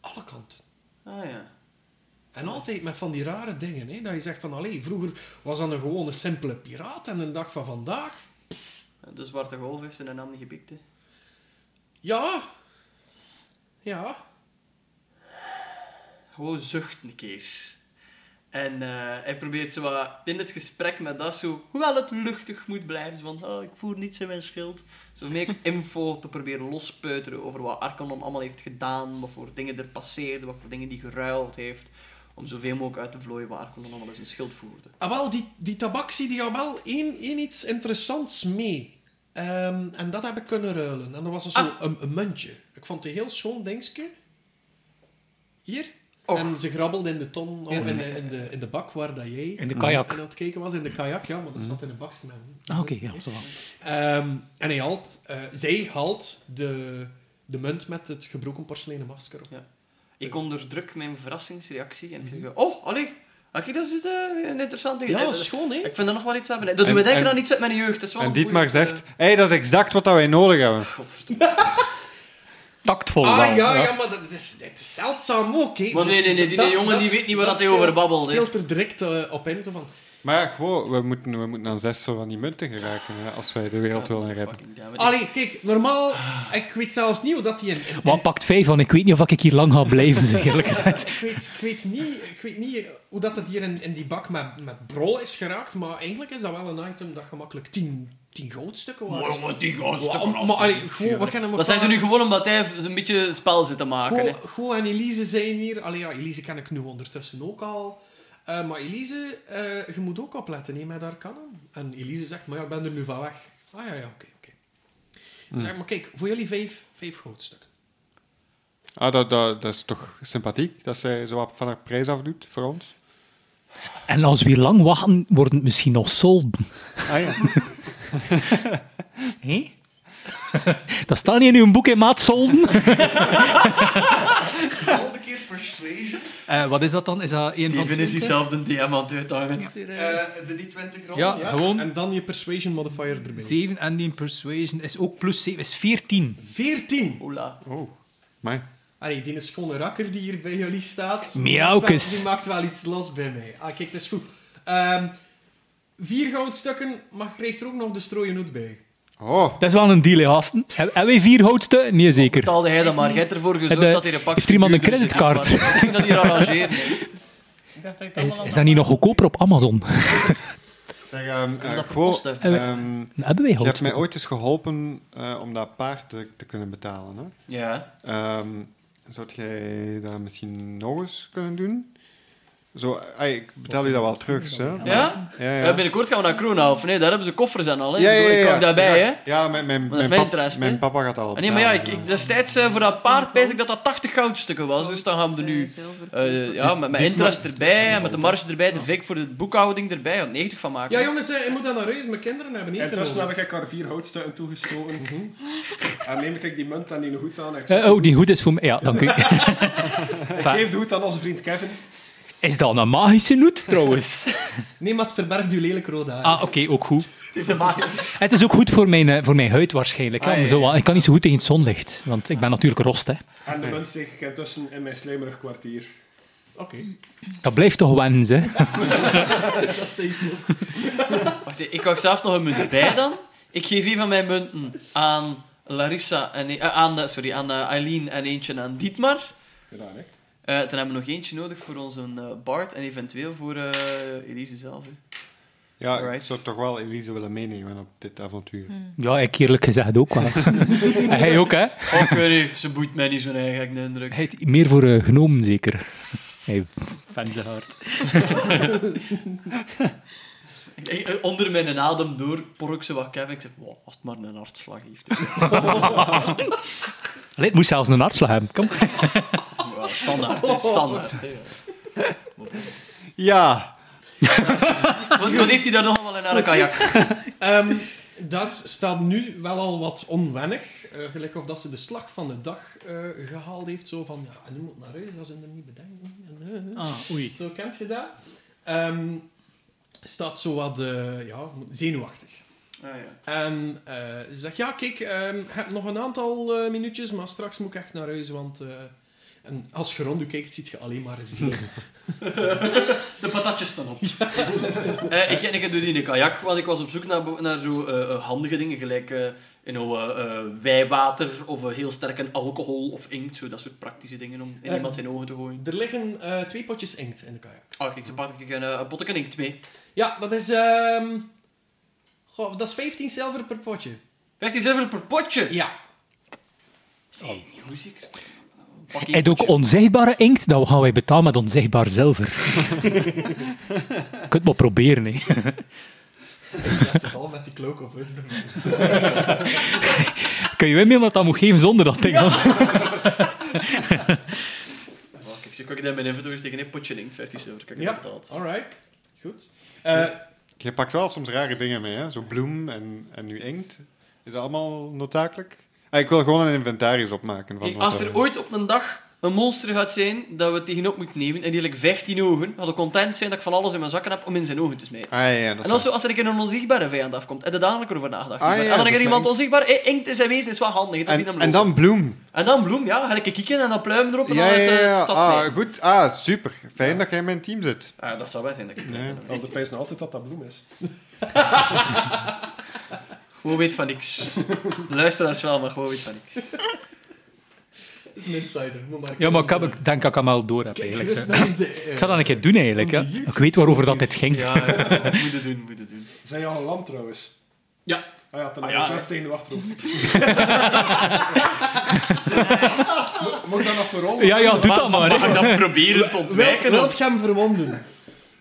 Speaker 1: Alle kanten.
Speaker 2: Ah ja.
Speaker 1: En altijd met van die rare dingen. Hè? Dat je zegt van, allee, vroeger was dat een gewone simpele piraat en een dag van vandaag.
Speaker 2: De zwarte golf heeft zijn naam niet gepikt. hè.
Speaker 1: Ja. Ja.
Speaker 2: Gewoon zucht een keer. En eh, hij probeert zo wat in het gesprek met dat zo, hoewel het luchtig moet blijven, zo van oh, ik voer niets in mijn schild. Zo meer info te proberen lospeuteren over wat Arcanon allemaal heeft gedaan, wat voor dingen er passeerden, wat voor dingen die geruild heeft. Om zoveel mogelijk uit te vlooien wat Arcanon allemaal in zijn schild voerde.
Speaker 1: Ah, wel, die, die tabaksie die had wel één, één iets interessants mee. Ehm, en dat heb ik kunnen ruilen. En dat was zo
Speaker 2: Ah.
Speaker 1: een, een muntje. Ik vond het een heel schoon dingetje. Hier.
Speaker 2: Och.
Speaker 1: En ze grabbelde in de ton, oh,
Speaker 2: Ja.
Speaker 1: in, de, in, de, in de bak waar dat jij
Speaker 6: In de kajak.
Speaker 1: aan het kijken was. In de kajak, ja, want dat zat in een bakje met hem.
Speaker 6: Ah, Oké, ja, zo wel.
Speaker 1: Ehm, en hij haalt, eh, zij haalt de, de munt met het gebroken porseleinen masker op.
Speaker 2: Ik onderdruk mijn verrassingsreactie en ik zeg, oh, allee, had ik dat is eh, een interessante...
Speaker 1: Ja,
Speaker 2: eh,
Speaker 1: dat is schoon, hè?
Speaker 2: ik vind er nog wel iets aan. Dat doen
Speaker 3: En-
Speaker 2: we denken
Speaker 3: en-
Speaker 2: aan iets uit mijn jeugd. Dat is wel
Speaker 3: En
Speaker 2: een eh,
Speaker 3: Dietmar
Speaker 2: goeie,
Speaker 3: zegt, hé, hey, dat is exact wat dat wij nodig hebben.
Speaker 2: eh, godverdomme.
Speaker 6: Tactvol wel.
Speaker 1: Ah ja,
Speaker 6: ja.
Speaker 1: ja, maar dat is, dat is zeldzaam ook, hè?
Speaker 2: Maar nee, nee, nee, die jongen die weet niet waar dat hij over
Speaker 1: speelt-
Speaker 2: babbelt, hè.
Speaker 1: speelt er direct eh, op in, zo van...
Speaker 3: Maar ja, gewoon, we moeten, we moeten aan zes zo van die munten geraken hè, als wij de wereld willen redden.
Speaker 2: Fucking damn it.
Speaker 1: Allee, kijk, normaal... Ik weet zelfs niet hoe dat hij... in- in-
Speaker 6: Maar pakt vijf van, ik weet niet of ik hier lang ga blijven, zeg eerlijk gezegd.
Speaker 1: Ik weet, ik weet niet, ik weet niet hoe dat het hier in, in die bak met, met brol is geraakt, maar eigenlijk is dat wel een item dat gemakkelijk 10 tien goudstukken was.
Speaker 2: Maar jongen, die gaan
Speaker 1: maar,
Speaker 2: stukken af.
Speaker 1: maar allee, gewoon, we kennen
Speaker 2: Dat zijn er
Speaker 1: elkaar-
Speaker 2: nu gewoon omdat hij een beetje spel zit te
Speaker 6: Ah,
Speaker 2: maken. hè.
Speaker 1: Go, Go en Elise zijn hier. Allee, ja, Elise ken ik nu ondertussen ook al. Eh, maar Elise, eh, je moet ook opletten hè, met haar kanon. En Elise zegt, maar ja, ik ben er nu van weg. Ah ja, ja, oké, oké.
Speaker 6: Hmm.
Speaker 1: Zeg maar, kijk, voor jullie vijf, vijf goudstukken.
Speaker 3: Ah, dat, dat, dat is toch sympathiek, dat zij zo wat van haar prijs afdoet voor ons.
Speaker 6: En als we hier lang wachten, worden het misschien nog solden.
Speaker 3: Ah ja.
Speaker 6: Hé? Dat staat niet in uw boek, hè, maat, solden.
Speaker 1: Volgende keer persuasion.
Speaker 6: Eh, wat is dat dan? Is dat één van
Speaker 2: Steven is
Speaker 6: de-
Speaker 2: zichzelf een DM aan het uithangen.
Speaker 1: Eh, de die 20 rond.
Speaker 6: Ja, gewoon.
Speaker 1: En dan je persuasion modifier erbij.
Speaker 6: Zeven en die persuasion is ook plus zeven, is veertien.
Speaker 1: 14.
Speaker 2: Hola.
Speaker 3: Oh, maar
Speaker 1: Allee, die schone rakker die hier bij jullie staat. die
Speaker 6: Miauwkes.
Speaker 1: maakt wel- Die maakt wel iets los bij mij. Ah, kijk, dat is goed. Ehm, vier goudstukken, maar je krijgt er ook nog de strooien hoed bij.
Speaker 3: Oh,
Speaker 6: Dat is wel een deal, hè, gasten. Heb- Hebben wij vier houtstukken? Nee, zeker.
Speaker 2: Betaalde hij dan maar. Jij hebt ervoor gezorgd
Speaker 6: Eh, de-
Speaker 2: dat hij een pak
Speaker 6: heeft er iemand een
Speaker 2: duurder zit,
Speaker 6: creditcard?
Speaker 2: maar Ik ging dat hier arrangeren.
Speaker 5: Ik dacht dat ik
Speaker 6: Is,
Speaker 5: allemaal
Speaker 6: is
Speaker 5: aan-
Speaker 6: dat niet nog goedkoper op Amazon?
Speaker 3: zeg, ehm eh,
Speaker 2: dat
Speaker 3: gewoon,
Speaker 2: kost even zeggen?
Speaker 3: ehm,
Speaker 6: Hebben wij
Speaker 3: je hebt mij
Speaker 6: houtstukken?
Speaker 3: ooit eens geholpen eh, om dat paard te, te kunnen betalen. Hè?
Speaker 2: Ja.
Speaker 3: Ehm, zou jij dat misschien nog eens kunnen doen? Zo, ai, ik betaal je dat wel terug, hè? maar-
Speaker 2: Ja?
Speaker 3: Ja,
Speaker 2: Eh,
Speaker 3: ja.
Speaker 2: binnenkort gaan we naar Kroonhof. of nee? Daar hebben ze koffers en al. Hè?
Speaker 3: Ja, ja,
Speaker 2: Oh Ik
Speaker 3: ja,
Speaker 2: kwam daarbij, hè?
Speaker 3: Ja, Ja, mijn, mijn,
Speaker 2: dat is
Speaker 3: mijn,
Speaker 2: mijn
Speaker 3: pap-
Speaker 2: interesse, hè?
Speaker 3: mijn papa gaat al
Speaker 2: Ah, Nee, maar ja, ik,
Speaker 3: betalen.
Speaker 2: ik- destijds eh, voor dat paard pijs ik dat dat 80 goudstukken was. Dus dan gaan we er nu...
Speaker 5: Zilver.
Speaker 2: eh, ja, met mijn interest erbij en met de marge erbij, de vik voor de boekhouding erbij, ja, 90 van maken.
Speaker 1: Ja, jongens, eh, ik moet dat naar huis. Mijn kinderen hebben
Speaker 4: En
Speaker 1: eten
Speaker 4: tussen
Speaker 1: nodig.
Speaker 4: heb ik haar vier houtstukken toegestoken. En neem ik die munt en die hoed aan. Ik, zeg,
Speaker 6: Eh, oh, die hoed is voor mij. Ja, dank u.
Speaker 4: ik geef de hoed aan onze vriend Kevin.
Speaker 6: Is dat een magische hoed, trouwens?
Speaker 1: Nee, maar het verbergt uw lelijke rode haar.
Speaker 6: Ah, oké, ook goed. Het is ook goed voor mijn, eh, voor mijn huid waarschijnlijk. hè,
Speaker 3: Ah,
Speaker 6: om
Speaker 3: ja,
Speaker 6: zo
Speaker 3: ja.
Speaker 6: wat- ik kan niet zo goed tegen het zonlicht, want ik ben natuurlijk rost. Hè.
Speaker 4: En de munt steek ik intussen in mijn slijmerig kwartier.
Speaker 1: Oké,
Speaker 6: Dat blijft toch wens, hè?
Speaker 1: dat zei ze ook.
Speaker 2: Wacht, ik hou zelf nog een munt bij dan. Ik geef een van mijn munten aan Larissa en... eh, aan, eh, sorry, aan eh, Eileen en eentje aan Dietmar.
Speaker 4: Gedaan, hè?
Speaker 2: Eh, dan hebben we nog eentje nodig voor onze eh, Bart en eventueel voor eh, Elise zelf. hè.
Speaker 3: Ja, ik
Speaker 2: Alright. Hmm.
Speaker 3: zou toch wel Elise willen meenemen op dit avontuur.
Speaker 6: Ja, ik eerlijk gezegd ook wel. En hij ook, hè?
Speaker 2: Oh, ik weet niet, ze boeit mij niet zo'n eigen de indruk.
Speaker 6: Hij heeft meer voor eh, genomen, zeker. Hij fan zijn hart.
Speaker 2: Ik- ik- eh, Onder mijn adem door pork ze wat Kevin. Ik zeg, wow, als het maar een hartslag heeft.
Speaker 6: Allee, het moest zelfs een hartslag hebben. Kom.
Speaker 2: Wow, standaard, hè, standaard.
Speaker 3: Ja,
Speaker 2: Wat, wat heeft hij daar nog allemaal in haar kajak?
Speaker 1: Ehm, dat staat nu wel al wat onwennig. Eh, gelijk of dat ze de slag van de dag eh, gehaald heeft. Zo van, ja, en nu moet naar huis, dat ze hem niet bedenken. En, eh, eh.
Speaker 6: Ah, oei.
Speaker 1: Zo kent je dat. Ehm, staat zo wat eh, ja, zenuwachtig.
Speaker 2: Ah, ja.
Speaker 1: En eh, ze zegt, ja, kijk, ehm, ik heb nog een aantal eh, minuutjes, maar straks moet ik echt naar huis, want... eh, en als je rond u kijkt, ziet je alleen maar zenuw.
Speaker 2: De patatjes staan op. Eh, ik, ik doe die in een kajak, want ik was op zoek naar, bo- naar zo eh, eh, handige dingen, gelijk eh you know, eh, eh, wijwater of eh, heel sterke alcohol of inkt, zo, dat soort praktische dingen om in
Speaker 1: Eh.
Speaker 2: iemand zijn ogen te gooien.
Speaker 1: er liggen eh, twee potjes inkt in de kajak.
Speaker 2: Ah, kijk, ze pak ik een, eh, een potje inkt mee.
Speaker 1: Ja, dat is... ehm, goh, dat is 15 zilver per potje.
Speaker 2: 15 zilver per potje!
Speaker 1: Ja.
Speaker 2: Zie, hoe zie ik- Pak ik een
Speaker 6: Hij heeft ook
Speaker 2: potje.
Speaker 6: onzichtbare inkt, dan gaan wij betalen met onzichtbaar zilver. Kunt maar proberen, hè?
Speaker 1: Zet het al met die cloak of is
Speaker 6: Kun je mij wat dat moet geven zonder dat ding? dan?
Speaker 2: Ah, Kijk, zo kan ik dat in mijn inventory steken, een potje inkt, 15 zilver, kan ik
Speaker 1: Ja,
Speaker 2: dat betaald.
Speaker 1: alright. Goed. Eh,
Speaker 3: je pakt wel soms rare dingen mee, hè? Zo bloem en, en nu inkt. Is dat allemaal noodzakelijk? Ah, ik wil gewoon een inventaris opmaken. Van
Speaker 2: Kijk,
Speaker 3: wat
Speaker 2: als er
Speaker 3: er-
Speaker 2: ooit op een dag een monster gaat zijn dat we tegenop moeten nemen, en die like 15 ogen, had ik content zijn dat ik van alles in mijn zakken heb om in zijn ogen te smijten.
Speaker 3: Ah ja, ja, dat is
Speaker 2: En als, als er een keer een onzichtbare vijand afkomt, en de dadelijk erover nagedacht.
Speaker 3: Ah,
Speaker 2: Ah,
Speaker 3: ja,
Speaker 2: en dan
Speaker 3: dat
Speaker 2: is
Speaker 3: is
Speaker 2: er iemand
Speaker 3: mijn-
Speaker 2: onzichtbaar, eh, inkt is aanwezig, is wel handig. hè,
Speaker 3: waar.
Speaker 2: te zien
Speaker 3: en,
Speaker 2: hem
Speaker 3: en
Speaker 2: lopen.
Speaker 3: dan bloem.
Speaker 2: en dan bloem, ja, ga ik kieken en dan pluimen erop en
Speaker 3: Ja,
Speaker 2: dan uit
Speaker 3: ja,
Speaker 2: eh,
Speaker 3: ja.
Speaker 2: de stad smijten.
Speaker 3: Ah, goed. Ah, super. Fijn dat jij in mijn team zit.
Speaker 2: Ah, dat zou wel zijn dat ik het
Speaker 3: Nee.
Speaker 2: weet, hè.
Speaker 4: Want de pijs nou altijd dat dat bloem is.
Speaker 2: Gewoon weet van niks. Luisteraars wel, maar gewoon weet van niks.
Speaker 1: dat is een insider. Moet maar
Speaker 6: Ja, maar ik, heb- ik denk dat ik hem wel door heb,
Speaker 1: Kijk
Speaker 6: eigenlijk.
Speaker 1: gerust
Speaker 6: zeg.
Speaker 3: nou
Speaker 1: naar onze... eh,
Speaker 6: Ik zou dat een keer doen, eigenlijk. Ja.
Speaker 1: Onze
Speaker 6: Ik weet waarover dat dit ging.
Speaker 2: Ja, ja, ja. moet het doen, moet het doen.
Speaker 4: Zijn je al een lamp trouwens?
Speaker 2: Ja.
Speaker 4: Ah ja,
Speaker 2: Ah
Speaker 4: dan heb
Speaker 2: ja,
Speaker 4: ik
Speaker 2: hè.
Speaker 4: plaats tegen de achterhoofd. Mo- Moet ik dat nog voor rollen?
Speaker 6: Ja, ja, doe dat maar. hè.
Speaker 2: Mag ik dan proberen te
Speaker 1: Wilt,
Speaker 2: ontwijken?
Speaker 1: wilt je hem verwonden?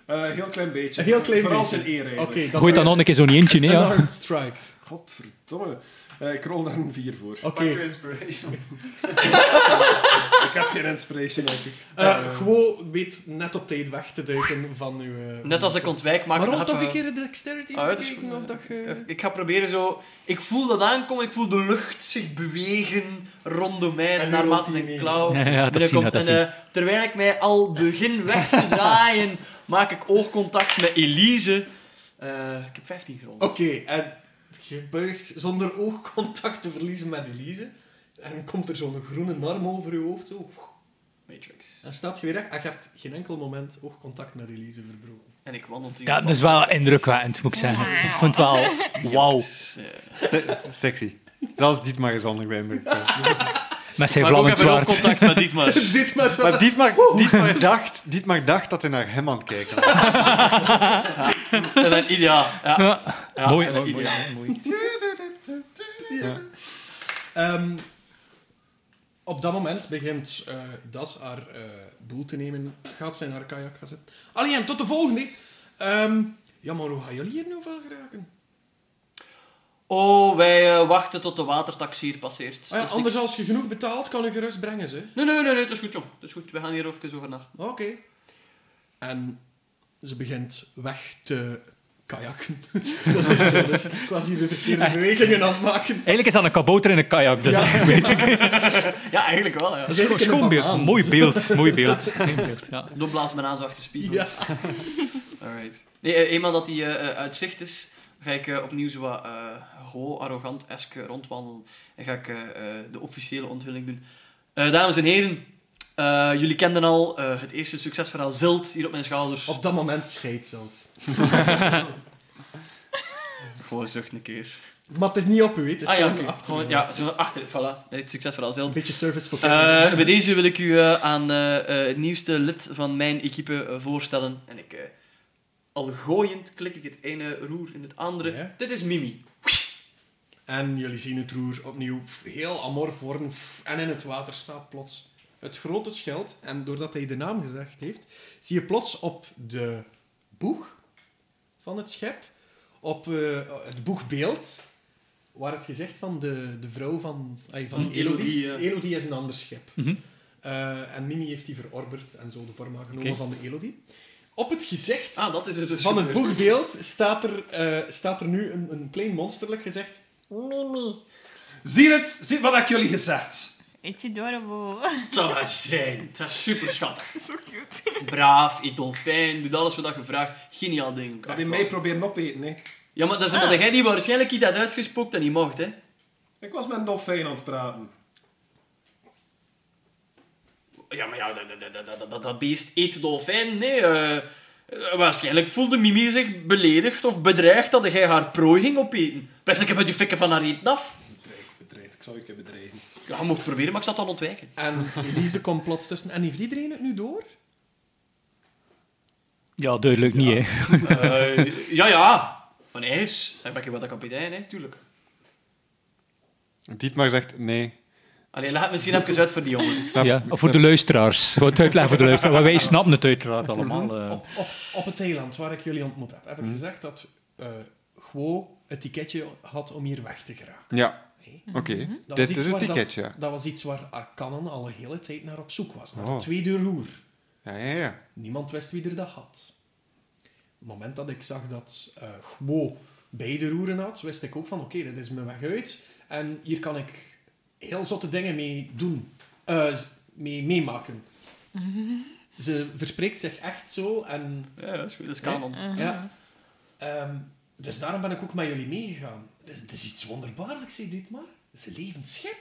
Speaker 4: Eh, heel klein beetje.
Speaker 1: Een heel klein
Speaker 4: Vooral
Speaker 1: beetje.
Speaker 4: zijn eer eigenlijk.
Speaker 1: Oké, dat
Speaker 6: Gooi dan nog een keer zo'n eentje, nee.
Speaker 1: Een
Speaker 6: Ja.
Speaker 1: armed strike.
Speaker 4: Godverdomme. Eh, ik rol daar een 4 voor.
Speaker 1: Oké.
Speaker 4: Ik heb geen inspiration, denk ik.
Speaker 1: Eh, gewoon weet net op tijd weg te duiken van uw... eh,
Speaker 2: Net als ik ontwijk, maak
Speaker 1: Maar
Speaker 2: ik
Speaker 1: rol
Speaker 2: nog
Speaker 1: toch
Speaker 2: even-
Speaker 1: een keer de dexterity
Speaker 2: Ah, ja,
Speaker 1: even
Speaker 2: dat is
Speaker 1: kijken
Speaker 2: goed,
Speaker 1: of
Speaker 2: ja.
Speaker 1: dat je...
Speaker 2: Even- Eh, Ik ga proberen zo... Ik voel dat aankomen, ik voel de lucht zich bewegen rondom mij,
Speaker 1: En nu
Speaker 2: naarmate
Speaker 1: rolt hij
Speaker 2: zijn
Speaker 1: niet.
Speaker 2: klauw
Speaker 6: Ja, ja, dat
Speaker 2: binnenkomt.
Speaker 6: zien we, dat
Speaker 2: en eh, terwijl ik mij al begin weg te draaien, maak ik oogcontact met Elise. Eh, ik heb 15 gerold.
Speaker 1: Oké, en je buigt zonder oogcontact te verliezen met Elise. En komt er zo'n groene narm over je hoofd. Zo.
Speaker 2: Matrix.
Speaker 1: En staat je weer recht. En je hebt geen enkel moment oogcontact met Elise verbroken.
Speaker 2: En ik wandel tegen
Speaker 6: Ja, dat is wel indrukwekkend, moet ik zeggen. Ik vond het wel wauw.
Speaker 3: Se- sexy. Zelfs Dietmar is ongewendig.
Speaker 6: Met zijn
Speaker 2: Maar ook
Speaker 6: vlammend
Speaker 2: even ook
Speaker 6: zwaard.
Speaker 2: contact met Dietmar.
Speaker 1: Dit maar staat
Speaker 3: Maar
Speaker 1: er-
Speaker 3: Dietmar, Dietmar, dacht, Dietmar dacht dat hij naar hem aan het kijken was.
Speaker 2: En dan Ilja. Ja.
Speaker 6: Ja.
Speaker 2: Ja,
Speaker 6: mooi,
Speaker 2: en dan
Speaker 6: mooi,
Speaker 2: Ilja.
Speaker 1: Ja. Ehm, op dat moment begint eh, Das haar eh, boel te nemen. Gaat zij naar haar kajak gaan zitten. Alleen, tot de volgende! Ehm, ja, maar hoe gaan jullie hier nu van geraken?
Speaker 2: Oh, wij eh, wachten tot de watertaxi hier passeert.
Speaker 1: Ah ja,
Speaker 2: Dat is
Speaker 1: anders als je genoeg betaalt, kan ik gerust brengen, ze.
Speaker 2: niks. Nee, nee, nee, nee, dat is goed, jong. Dat is goed. We gaan hier even over nacht.
Speaker 1: Oké. En ze begint weg te kajakken. dat is zo, dus ik was hier de verkeerde bewegingen aan het maken.
Speaker 6: Eigenlijk is dat een kabouter in een kajak. Dus
Speaker 1: Ja.
Speaker 6: basically.
Speaker 2: Ja, eigenlijk wel, ja.
Speaker 1: Dat is eigenlijk een
Speaker 6: Schoon beeld.
Speaker 1: banaan.
Speaker 6: Mooi beeld. Mooi beeld. Geen beeld ja.
Speaker 2: Dan blaas mijn aan zo achter spiegel.
Speaker 1: Ja.
Speaker 2: Alright. Nee, eh, eenmaal dat hij eh, eh, uit zicht is, ga ik eh, opnieuw zo wat eh, ho, arrogant eske rondwandelen. En ga ik eh, eh, de officiële onthulling doen. Eh, dames en heren, eh, jullie kenden al eh, het eerste succesverhaal Zilt hier op mijn schouders.
Speaker 1: Op dat moment scheidt ze het.
Speaker 2: Gewoon zucht een keer.
Speaker 1: Maar het is niet op u, weet. Het is
Speaker 2: Ah ja,
Speaker 1: gewoon
Speaker 2: oké.
Speaker 1: achter.
Speaker 2: Gewoon- ja, het is achter, voilà. Het succesverhaal Zilt.
Speaker 1: Een beetje service voor
Speaker 2: Eh, bij deze wil ik u eh, aan eh, eh, het nieuwste lid van mijn equipe eh, voorstellen. En ik, eh, al gooiend, klik ik het ene roer in het andere.
Speaker 1: Ja.
Speaker 2: Dit is Mimi.
Speaker 1: En jullie zien het roer opnieuw f- heel amorf worden. f- En in het water staat plots het grote schild. En doordat hij de naam gezegd heeft, zie je plots op de boeg van het schip, op eh, het boegbeeld, waar het gezicht van de, de vrouw van, ay, van,
Speaker 2: Van
Speaker 1: Elodie...
Speaker 2: Elodie,
Speaker 1: Elodie,
Speaker 2: ja.
Speaker 1: is een ander schip.
Speaker 6: Mhm.
Speaker 1: Eh, en Mimi heeft die verorberd en zo de vorm aangenomen
Speaker 6: Oké.
Speaker 1: van de Elodie. Op het gezicht
Speaker 2: Ah, dat is het dus.
Speaker 1: van het
Speaker 2: gebeurd.
Speaker 1: boegbeeld staat er, eh, staat er nu een, een klein monsterlijk gezegd. Mimi.
Speaker 4: Zie het? Zie wat heb ik jullie gezegd?
Speaker 5: It's adorable.
Speaker 2: Dat zou zijn. Dat is super schattig.
Speaker 5: Zo cute.
Speaker 2: Braaf, eet dolfijn, doet alles wat je vraagt. Geniaal ding.
Speaker 4: Dat
Speaker 2: Echt
Speaker 4: die
Speaker 2: waar.
Speaker 4: mij proberen opeten, hè.
Speaker 2: Ja, maar dat
Speaker 5: Ah.
Speaker 2: is omdat jij niet waarschijnlijk iets had uitgespookt dat niet mocht, hè?
Speaker 4: Ik was met een dolfijn aan het praten.
Speaker 2: Ja, maar ja, dat, dat, dat, dat, dat, dat beest eet dolfijn. Nee, eh, eh, waarschijnlijk voelde Mimi zich beledigd of bedreigd dat jij haar prooi ging opeten. Blijf ik heb uit die fikken van haar eten af.
Speaker 4: Bedreigd, bedreigd. Ik zal je een keer bedreigen.
Speaker 2: Ja, je mocht proberen, maar ik zat dan ontwijken.
Speaker 1: En Elise komt plots tussen. En heeft iedereen het nu door?
Speaker 6: ja, duidelijk niet, hè.
Speaker 2: Eh, ja, ja. Van ijs. Zeg, ben je wel de kapitein, hè? Tuurlijk.
Speaker 3: Dietmar zegt nee.
Speaker 2: Allee, laat het misschien even uit voor die jongen.
Speaker 3: Ik snap,
Speaker 6: Ja,
Speaker 3: ik
Speaker 6: voor de
Speaker 3: snap-
Speaker 6: luisteraars. Gewoon het uitleggen voor de luisteraars. Want wij snappen het uiteraard allemaal. eh.
Speaker 1: Op, op, op het eiland waar ik jullie ontmoet heb, heb
Speaker 3: Hmm.
Speaker 1: ik gezegd dat eh Guo het ticketje had om hier weg te geraken.
Speaker 3: Ja,
Speaker 1: Nee.
Speaker 3: oké.
Speaker 1: Dat was
Speaker 3: Dit
Speaker 1: iets
Speaker 3: is het
Speaker 1: waar dat-
Speaker 3: ticketje. ja.
Speaker 1: Dat, was iets waar Arcanon al een hele tijd naar op zoek was. Naar
Speaker 3: Oh.
Speaker 1: een tweede roer.
Speaker 3: Ja, ja, ja.
Speaker 1: Niemand wist wie er dat had. Op het moment dat ik zag dat eh Guo beide roeren had, wist ik ook van oké, dit is mijn weg uit. En hier kan ik heel zotte dingen mee doen. eh, z- mee meemaken. Ze verspreekt zich echt zo en
Speaker 2: Ja, dat is goed. Dat is kanon.
Speaker 1: ja. Ehm, dus daarom ben ik ook met jullie meegegaan. Het is, het is iets wonderbaarlijks, zeg dit maar. Het is een levend schip.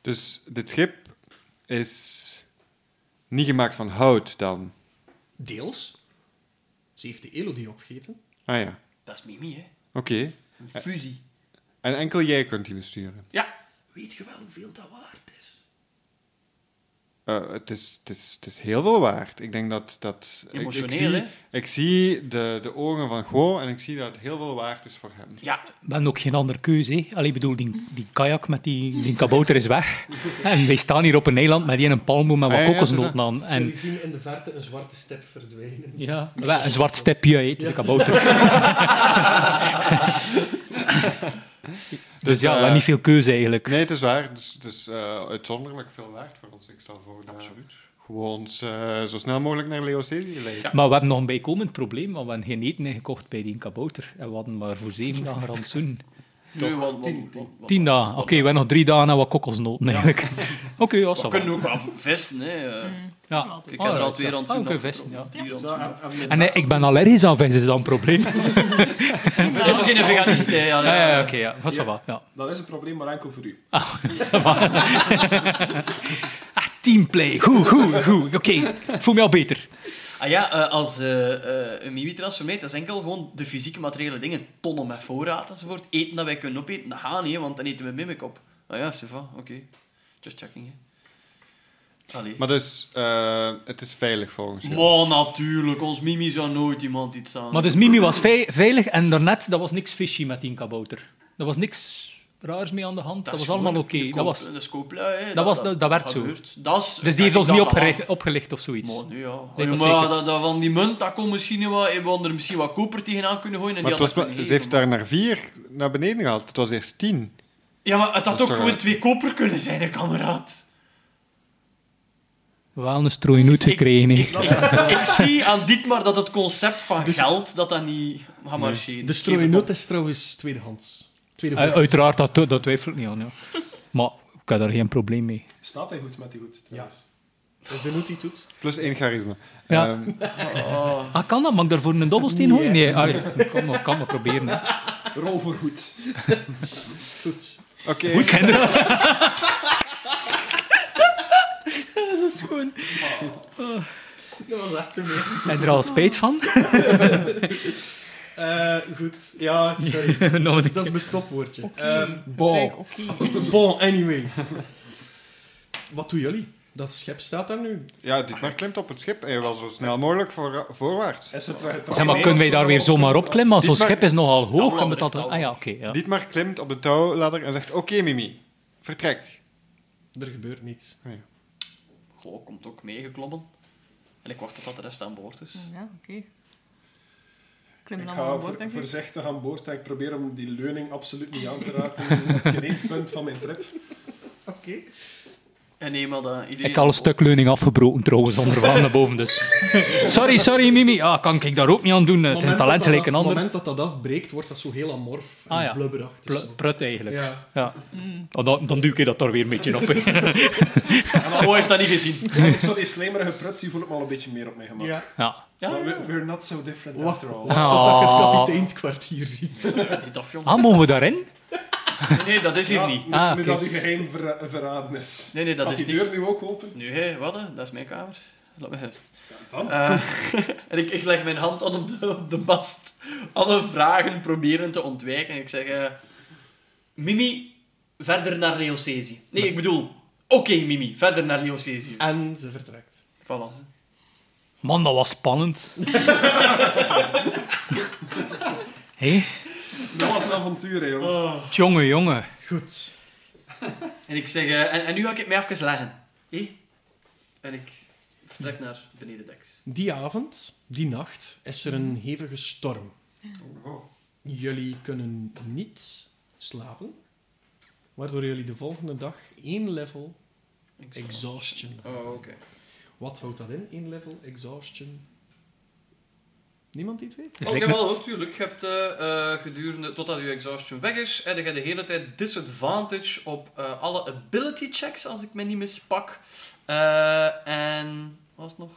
Speaker 3: Dus dit schip is niet gemaakt van hout dan.
Speaker 1: Deels. Ze heeft de Elodie opgegeten.
Speaker 3: Ah ja,
Speaker 2: Dat is Mimi, hè?
Speaker 3: oké.
Speaker 2: Een fusie.
Speaker 3: En enkel jij kunt die besturen.
Speaker 2: Ja.
Speaker 1: Weet je wel hoeveel dat waard is?
Speaker 3: Eh, het, is, het, is, het is heel veel waard. Ik denk dat... dat ik-
Speaker 2: Emotioneel,
Speaker 3: ik, zie,
Speaker 2: hè?
Speaker 3: Ik zie de, de ogen van Go en ik zie dat het heel veel waard is voor hem.
Speaker 2: Ja.
Speaker 6: We hebben ook geen andere keuze. hè. Allee, ik bedoel, die, die kajak met die, die kabouter is weg. En wij staan hier op een eiland met die en een palmboom met
Speaker 3: Ah,
Speaker 6: wat
Speaker 3: ja, ja,
Speaker 6: kokosnoten aan. En
Speaker 1: Jullie zien in de verte een zwarte stip verdwijnen.
Speaker 6: ja, wel, een zwart stipje, hè, het is een kabouter.
Speaker 3: Dus,
Speaker 6: Dus ja, we
Speaker 3: eh,
Speaker 6: hebben niet veel keuze eigenlijk.
Speaker 3: Nee, het is waar. Dus het is eh, uitzonderlijk veel waard voor ons. Ik stel voor dat Absoluut. gewoon ons, eh, zo snel mogelijk naar Leocelie leiden.
Speaker 6: Maar we hebben nog een bijkomend probleem, want we hebben geen eten ingekocht bij die kabouter. En we hadden maar voor zeven dagen rantsoen.
Speaker 2: Nee, want tien.
Speaker 6: Tien dagen. Oké, we hebben nog drie dagen en wat kokosnoten eigenlijk. Oké, ja,
Speaker 2: We
Speaker 6: ça va.
Speaker 2: kunnen ook wel vesten, hè. eh.
Speaker 6: Ja.
Speaker 2: Ik heb er al twee
Speaker 6: Ah,
Speaker 2: rond.
Speaker 6: we kunnen vesten, ja.
Speaker 2: Vier
Speaker 5: Ja.
Speaker 2: rond. Het
Speaker 6: En Ah, nee, ik ben allergisch aan vis, is dat een probleem?
Speaker 2: is toch geen veganist, hè? Ja,
Speaker 6: Ja,
Speaker 2: ja.
Speaker 6: ja, oké, ja. Dat is wel. Ja.
Speaker 4: Dat is een probleem, maar enkel voor u.
Speaker 6: Ah, teamplay. Goed, goed, goed. Oké, ik voel me al beter.
Speaker 2: Ah ja, eh, als eh, eh, een MIWI transformeert, dat is enkel gewoon de fysieke materiële dingen. Tonnen met voorraad enzovoort. Eten dat wij kunnen opeten, dat gaat niet, hè, want dan eten we mimic op. Ah ja, Siva, oké. Just checking, hè. Allee.
Speaker 3: Maar dus, eh, het is veilig volgens jou.
Speaker 2: Maar natuurlijk, ons Mimi zou nooit iemand iets aan.
Speaker 6: Maar dus Mimi was vei- veilig en daarnet, dat was niks fishy met die kabouter. Dat was niks raars mee aan de hand. Dat,
Speaker 2: is
Speaker 6: was allemaal
Speaker 2: gewoon
Speaker 6: oké.
Speaker 2: de
Speaker 6: Dat
Speaker 2: koop-
Speaker 6: was...
Speaker 2: de scooplui, hè.
Speaker 6: was- dat- dat werd zo.
Speaker 2: gebeurt. Dat is,
Speaker 6: Dus die heeft ons
Speaker 2: dat
Speaker 6: niet
Speaker 2: is al
Speaker 6: opgericht- opgelicht of zoiets.
Speaker 2: Maar nu, ja. Ja,
Speaker 6: Nee,
Speaker 2: maar
Speaker 6: dat zeker.
Speaker 2: dat, dat van die munt, dat kon misschien wat... We hadden er misschien wat koper tegenaan kunnen gooien. En
Speaker 3: Maar
Speaker 2: die
Speaker 3: het
Speaker 2: had
Speaker 3: was,
Speaker 2: dat
Speaker 3: maar-
Speaker 2: kunnen
Speaker 3: ze heeft
Speaker 2: geven,
Speaker 3: daar naar vier naar beneden gehaald. Het was eerst tien.
Speaker 2: maar- Ja, maar het
Speaker 3: Dat
Speaker 2: had
Speaker 3: is
Speaker 2: ook
Speaker 3: toch
Speaker 2: gewoon
Speaker 3: wel-
Speaker 2: twee koper kunnen zijn, hè, kameraad.
Speaker 6: Wel een strooinoet gekregen. hè.
Speaker 2: Ik zie aan Dietmar dat het concept van
Speaker 3: Dus-
Speaker 2: geld, dat dat niet gaat marcheren.
Speaker 1: De strooinoot is trouwens tweedehands. Tweedehands.
Speaker 6: Eh, Uiteraard, dat, twi- dat twijfel ik niet aan. Ja. Maar ik heb daar geen probleem mee.
Speaker 4: Staat hij goed met die hoed? trouwens?
Speaker 1: Dat is Dus de noot die het doet.
Speaker 3: Plus één charisma.
Speaker 6: Ja.
Speaker 3: Ehm,
Speaker 2: Oh.
Speaker 6: Ah, kan dat? Mag ik daarvoor een dobbelsteen gooien?
Speaker 1: Nee,
Speaker 6: Nee, ah, ja. kan, maar, kan maar proberen. Hè.
Speaker 4: Rol voor hoed.
Speaker 1: Goed.
Speaker 3: Oké,
Speaker 1: Dat was echt te meer.
Speaker 6: Heb je er al spijt van?
Speaker 1: Eh, goed. Ja, sorry.
Speaker 6: Nog
Speaker 1: Dat is,
Speaker 6: niet.
Speaker 1: dat is mijn stopwoordje. Ehm,
Speaker 6: Bon.
Speaker 4: Oh.
Speaker 5: Oké.
Speaker 1: bon, anyways. Wat doen jullie? Dat schep staat daar nu.
Speaker 3: ja, Dietmar klimt op het schip. Hij wil zo snel mogelijk voor, voorwaarts.
Speaker 4: Is er tra- tra-
Speaker 6: Zeg, maar kunnen wij daar weer zomaar op klimmen? Want zo'n
Speaker 3: Dit
Speaker 6: schip is nogal hoog.
Speaker 2: wel,
Speaker 6: kan het
Speaker 2: dat
Speaker 6: dat... Ah ja, oké. ja.
Speaker 3: Dietmar klimt op de touwladder en zegt... Oké, Mimi. Vertrek.
Speaker 1: Er gebeurt niets.
Speaker 2: Goh, komt ook meegeklommen. En ik wacht tot dat de rest aan boord is.
Speaker 5: Ja, oké. Klimmen
Speaker 4: Ik
Speaker 5: dan maar
Speaker 4: ga
Speaker 5: aan boord,
Speaker 4: voor,
Speaker 5: denk ik.
Speaker 4: voorzichtig aan boord en ik probeer om die leuning absoluut niet aan te raken. op geen één punt van mijn trip.
Speaker 1: Oké.
Speaker 2: En eenmaal dat iedereen...
Speaker 6: Ik heb al een stuk leuning afgebroken trouwens, onderwaan naar boven. Dus. Sorry, sorry Mimi. Ah, kan ik daar ook niet aan doen. Het is
Speaker 1: Moment
Speaker 6: een talent
Speaker 1: dat dat
Speaker 6: gelijk een
Speaker 1: af-
Speaker 6: ander.
Speaker 1: moment dat dat afbreekt, wordt dat zo heel amorf en
Speaker 6: Ah, ja.
Speaker 1: blubberachtig.
Speaker 6: Pl-
Speaker 1: zo.
Speaker 6: Prut eigenlijk. Ja.
Speaker 1: Ja.
Speaker 6: Ah, dan, dan duw ik dat daar weer een beetje op. hè.
Speaker 2: Oh, heeft dat niet gezien.
Speaker 4: Als ik zo die slijmerige pruts zie, voel ik me al een beetje meer op mijn gemak.
Speaker 1: ja.
Speaker 6: Ja.
Speaker 4: Zo, we- We're not so different
Speaker 1: Wacht,
Speaker 4: after all.
Speaker 1: wacht totdat je het
Speaker 6: Ah.
Speaker 1: kapiteinskwartier ziet.
Speaker 2: Niet af, jong.
Speaker 6: Ah, mogen we daarin?
Speaker 2: Nee, nee, dat is hier
Speaker 4: Ja,
Speaker 2: niet.
Speaker 4: nu-
Speaker 6: Ah,
Speaker 4: Nu
Speaker 6: oké.
Speaker 4: dat uw geheim ver- verraden is.
Speaker 2: Nee, nee, dat
Speaker 4: Gaat
Speaker 2: is
Speaker 4: die
Speaker 2: niet.
Speaker 4: deur nu ook open?
Speaker 2: Nu, hé, wat? hè? Dat is mijn kamer. Laat me rust.
Speaker 4: dan.
Speaker 2: Eh, en ik, ik leg mijn hand aan op de, op de bast. Alle vragen proberen te ontwijken. En ik zeg... eh, Mimi, verder naar Leocesi. Nee, ik bedoel... Oké, Mimi, verder naar Leocesi.
Speaker 1: En ze vertrekt.
Speaker 2: Voilà.
Speaker 6: Man, dat was spannend. Hé,
Speaker 4: Dat was een avontuur, hè, jongen.
Speaker 6: jongen, jongen.
Speaker 1: Goed.
Speaker 2: En ik zeg... eh, en, en nu ga ik het mij even leggen. Hé? En ik vertrek naar beneden deks.
Speaker 1: Die avond, die nacht, is er een hevige storm. Jullie kunnen niet slapen, waardoor jullie de volgende dag één level
Speaker 2: Ik zeg-
Speaker 1: exhaustion.
Speaker 2: Oh, oké.
Speaker 1: Wat houdt dat in, één level exhaustion? Niemand die het weet?
Speaker 6: Dus
Speaker 2: Oh, ik
Speaker 6: lijkt
Speaker 2: heb
Speaker 6: me-
Speaker 2: wel gehoord, tuurlijk. Je hebt eh, eh, gedurende, totdat je exhaustion weg is, heb je de hele tijd disadvantage op eh, alle ability checks, als ik me niet mispak. Eh, en, wat was het nog?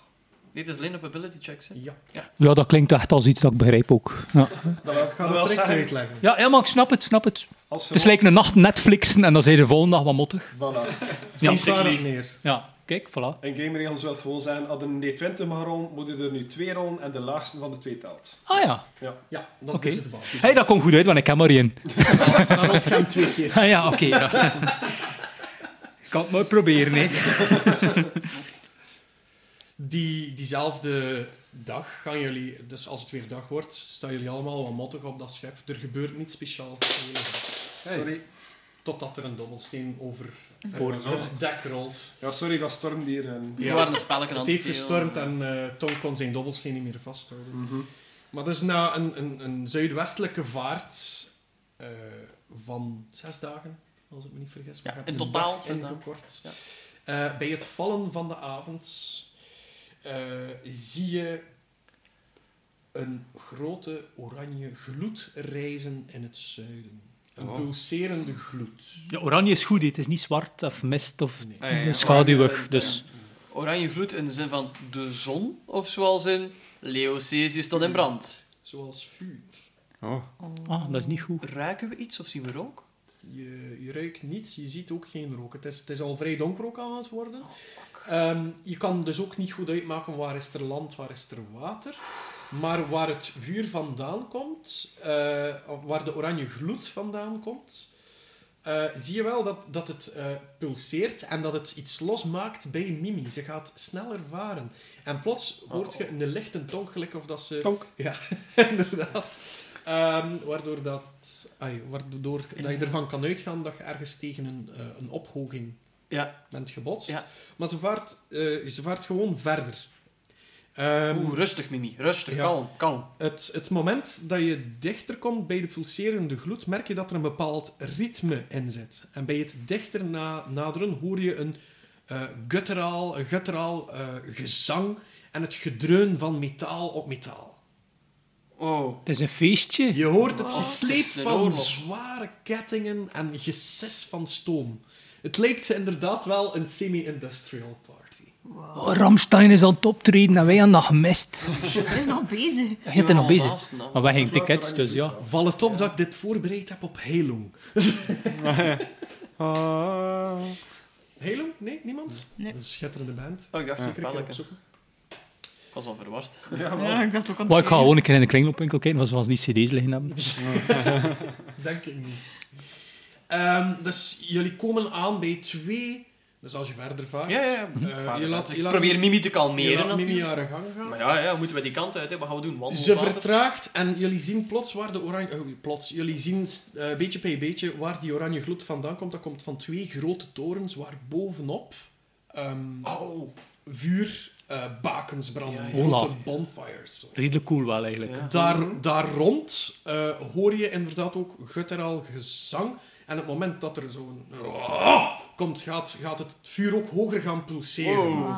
Speaker 2: Nee, het is alleen op ability checks, hè.
Speaker 1: Ja.
Speaker 6: Ja, dat klinkt echt als iets dat ik begrijp ook. Ja,
Speaker 4: Dan wil ik
Speaker 1: Ik ga
Speaker 4: wel
Speaker 1: dat direct
Speaker 4: zeggen,
Speaker 1: uitleggen.
Speaker 6: ja, ja, maar ik snap het, snap het.
Speaker 4: Als je
Speaker 6: Het is lijkt een nacht Netflixen en dan zijn de volgende dag wat mottig.
Speaker 4: voilà.
Speaker 1: Het
Speaker 6: Ja.
Speaker 1: komt daarop neer.
Speaker 6: Ja, kijk, voilà.
Speaker 4: En gameregels wil gewoon zijn, had een D20 mag rollen, moet je er nu twee rollen en de laagste van de twee telt.
Speaker 6: Ah ja.
Speaker 1: Ja, dat is
Speaker 6: Oké.
Speaker 1: dus het verhaal.
Speaker 6: Hé, dat komt goed uit, want ik heb maar één.
Speaker 1: Dan rolt je hem twee keer.
Speaker 6: Ah ja, oké. ja. Ik kan het maar proberen, hè.
Speaker 1: Die, diezelfde dag gaan jullie, dus als het weer dag wordt, staan jullie allemaal wat mottig op dat schep. Er gebeurt niets speciaals de hele dag.
Speaker 4: Sorry.
Speaker 1: Totdat er een dobbelsteen over eh,
Speaker 4: Boord.
Speaker 1: het dek rolt.
Speaker 4: Ja, sorry, dat storm hier. En...
Speaker 2: We
Speaker 1: Ja.
Speaker 2: waren een spelletje aan
Speaker 1: Het
Speaker 2: het
Speaker 1: heeft
Speaker 2: spelen.
Speaker 1: gestormd en eh Tom kon zijn dobbelsteen niet meer vasthouden. Maar dus na een, een, een zuidwestelijke vaart eh, van zes dagen, als ik me niet vergis.
Speaker 2: Ja,
Speaker 1: we hebben
Speaker 2: in
Speaker 1: een
Speaker 2: totaal
Speaker 1: dag
Speaker 2: zes dagen.
Speaker 1: ingekort.
Speaker 2: Ja.
Speaker 1: Eh, bij het vallen van de avond eh, zie je een grote oranje gloed rijzen in het zuiden. Een
Speaker 2: Oh.
Speaker 1: pulserende gloed.
Speaker 6: Ja, oranje is goed, hè. het is niet zwart of mist of
Speaker 1: Nee.
Speaker 3: Ah, ja, ja.
Speaker 6: schaduwig. Dus
Speaker 2: Oranje gloed in de zin van de zon, of zoals in Leo Cesius tot in brand.
Speaker 1: Zoals vuur.
Speaker 3: Oh.
Speaker 6: ah, dat is niet goed.
Speaker 2: Ruiken we iets of zien we rook?
Speaker 1: Je, je ruikt niets, je ziet ook geen rook. Het is, het is al vrij donker ook aan het worden. Ehm, je kan dus ook niet goed uitmaken waar is er land, waar is er water. Maar waar het vuur vandaan komt, eh, waar de oranje gloed vandaan komt, eh, zie je wel dat, dat het eh, pulseert en dat het iets losmaakt bij Mimi. Ze gaat sneller varen. En plots hoort je een lichte tonk, gelijk of dat ze...
Speaker 4: Tonk.
Speaker 1: Ja, inderdaad. Ehm, waardoor dat, ai, waardoor dat je ervan kan uitgaan dat je ergens tegen een, eh, een ophoging
Speaker 2: Ja.
Speaker 1: bent gebotst.
Speaker 2: Ja.
Speaker 1: Maar ze vaart, eh, ze vaart gewoon verder. Ehm,
Speaker 2: Oeh, rustig, Mimi. Rustig,
Speaker 1: Ja.
Speaker 2: kalm, kalm.
Speaker 1: het, het moment dat je dichter komt bij de pulserende gloed, merk je dat er een bepaald ritme in zit. En bij het dichter na- naderen hoor je een eh gutteraal, een gutteraal eh, gezang en het gedreun van metaal op metaal.
Speaker 2: Oh.
Speaker 6: Het is een feestje.
Speaker 1: Je hoort het
Speaker 2: Oh,
Speaker 1: gesleep
Speaker 2: het is een
Speaker 1: van
Speaker 2: oorlog.
Speaker 1: zware kettingen en gesis van stoom. Het lijkt inderdaad wel een semi-industrial party.
Speaker 6: Oh, Ramstein is aan het optreden en wij aan dat gemist.
Speaker 5: Het is nog bezig.
Speaker 6: Je zit er nog
Speaker 2: Zijn we al
Speaker 6: bezig.
Speaker 2: vast, nou?
Speaker 6: Maar wij gingen tickets, dus ja.
Speaker 1: Val het op dat ik dit voorbereid heb op Heilung.
Speaker 3: Ah.
Speaker 1: Heilung? Nee, niemand?
Speaker 5: Nee.
Speaker 1: Dat is een schitterende band.
Speaker 2: Oh, ik dacht zeker
Speaker 1: Zeker een keer
Speaker 2: welke.
Speaker 1: opzoeken.
Speaker 2: Ik was al verward.
Speaker 4: Ja, wel.
Speaker 5: Ja, ik dacht ook aan
Speaker 6: Maar ik ga
Speaker 5: het
Speaker 6: gewoon een keer in de kringloopwinkel kijken, want ze was niet cd's liggen hebben.
Speaker 1: Denk ik niet. Ehm, dus jullie komen aan bij twee... Dus als je verder vaart...
Speaker 2: Ja, ja, ja.
Speaker 1: eh, je laat, je
Speaker 2: Hm? Ik
Speaker 1: laat,
Speaker 2: probeer Mimi te
Speaker 1: je
Speaker 2: kalmeren.
Speaker 1: laat Mimi
Speaker 2: natuurlijk.
Speaker 1: haar gang gaan.
Speaker 2: Maar ja, ja, moeten we die kant uit? Hè? Wat gaan we doen? Wandelen?
Speaker 1: Ze
Speaker 2: water?
Speaker 1: vertraagt en jullie zien plots waar de oranje... oh, plots, jullie zien eh, beetje bij beetje waar die oranje gloed vandaan komt. Dat komt van twee grote torens waar bovenop ehm,
Speaker 2: Oh.
Speaker 1: vuurbakens branden.
Speaker 2: Ja,
Speaker 6: ja.
Speaker 1: Grote
Speaker 6: Hola.
Speaker 1: bonfires.
Speaker 6: Redelijk cool wel, eigenlijk.
Speaker 2: Ja.
Speaker 1: Daar, daar rond eh, hoor je inderdaad ook gutteraal gezang. En op het moment dat er zo'n... oh, komt, gaat, gaat het vuur ook hoger gaan pulseren.
Speaker 2: Wow.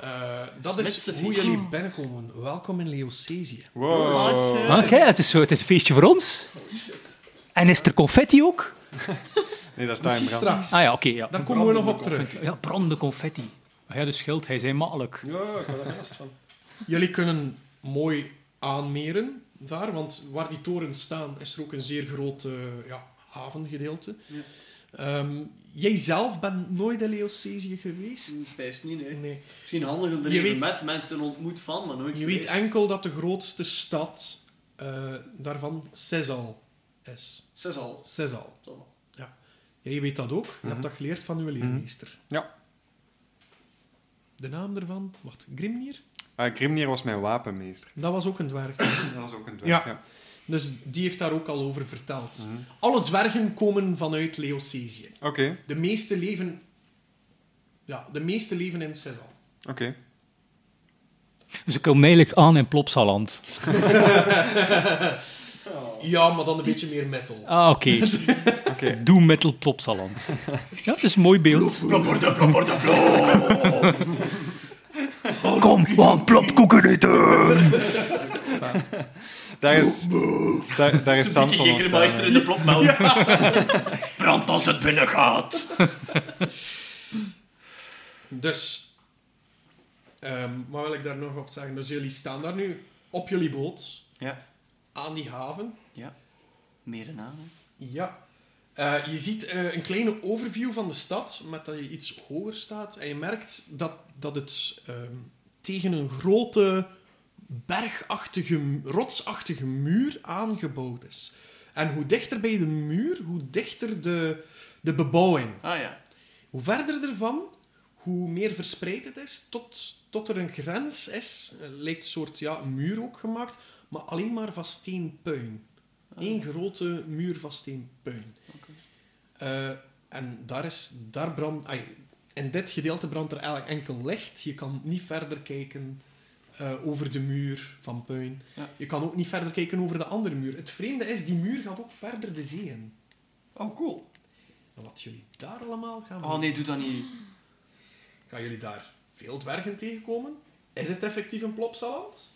Speaker 1: Eh, dat is
Speaker 2: Smetse
Speaker 1: hoe
Speaker 2: vies.
Speaker 1: jullie binnenkomen. Welkom in Leocesia.
Speaker 3: Wow.
Speaker 6: Maar kijk, Ah, het is, zo- het is een feestje voor ons. En is er confetti ook?
Speaker 3: Nee, dat is
Speaker 1: Misschien
Speaker 3: Time Brand.
Speaker 1: straks.
Speaker 6: Ah ja, oké, ja.
Speaker 1: Daar komen we nog op terug.
Speaker 6: Ja, brandende confetti. Ah Ja, de schild, hij zei makkelijk.
Speaker 4: Ja, ik heb er last van.
Speaker 1: Jullie kunnen mooi aanmeren daar, want waar die torens staan is er ook een zeer groot eh, ja, havengedeelte. Ehm, jij zelf bent nooit in Leocesië geweest.
Speaker 2: Spijs niet, nee.
Speaker 1: Nee.
Speaker 2: Misschien handel er
Speaker 1: Je
Speaker 2: even
Speaker 1: weet-
Speaker 2: met mensen ontmoet van, maar nooit
Speaker 1: Je weet
Speaker 2: geweest.
Speaker 1: enkel dat de grootste stad eh, daarvan Sesal is.
Speaker 2: Zes al.
Speaker 1: Sesal.
Speaker 2: Zo.
Speaker 1: Ja. Jij weet dat ook. Je hebt dat geleerd van uw leermeester.
Speaker 3: Ja.
Speaker 1: De naam daarvan, wacht, Grimnir?
Speaker 3: Eh, Grimnir was mijn wapenmeester.
Speaker 1: Dat was ook een dwerg.
Speaker 3: Dat was ook een dwerg.
Speaker 1: Ja.
Speaker 3: Ja.
Speaker 1: Dus die heeft daar ook al over verteld. Alle dwergen komen vanuit Leocesië.
Speaker 3: Oké,
Speaker 1: De meeste leven... Ja, de meeste leven in Sesal.
Speaker 3: oké.
Speaker 6: Dus ik kom eigenlijk aan in Plopsaland.
Speaker 1: Ja, maar dan een beetje meer metal.
Speaker 6: Ah, oké.
Speaker 3: Oké.
Speaker 6: Doe metal Plopsaland. Ja, het is een mooi beeld. Kom, we gaan plopkoeken eten.
Speaker 3: Daar is, daar, daar is
Speaker 2: Een beetje
Speaker 3: Samson ontstaan.
Speaker 2: Jägermeister in de plopmelk. Brand als het binnen gaat.
Speaker 1: Dus, ehm, wat wil ik daar nog op zeggen? Dus jullie staan daar nu op jullie boot,
Speaker 2: Ja,
Speaker 1: aan die haven.
Speaker 2: ja. Meer een aan.
Speaker 1: Ja. Eh, je ziet eh, een kleine overview van de stad, met dat je iets hoger staat. En je merkt dat, dat het ehm, tegen een grote bergachtige, rotsachtige muur aangebouwd is. En hoe dichter bij de muur, hoe dichter de, de bebouwing.
Speaker 2: Ah ja.
Speaker 1: Hoe verder ervan, hoe meer verspreid het is, tot, tot er een grens is. Eh, lijkt een soort ja, een muur ook gemaakt, maar alleen maar van steenpuin.
Speaker 2: Ah.
Speaker 1: Eén grote muur van steenpuin. Eh, en daar is, daar brand, ai, in dit gedeelte brandt er eigenlijk enkel licht. Je kan niet verder kijken eh, over de muur van puin.
Speaker 2: Ja.
Speaker 1: Je kan ook niet verder kijken over de andere muur. Het vreemde is, die muur gaat ook verder de zee in.
Speaker 2: Oh, cool.
Speaker 1: En wat jullie daar allemaal gaan
Speaker 2: Oh nee, doe dat niet.
Speaker 1: Gaan jullie daar veel dwergen tegenkomen? Is het effectief een plopsaland?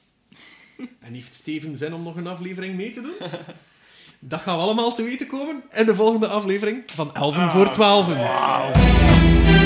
Speaker 1: En heeft Steven zin om nog een aflevering mee te doen? Dat gaan we allemaal te weten komen in de volgende aflevering van Elven voor Twaalfen.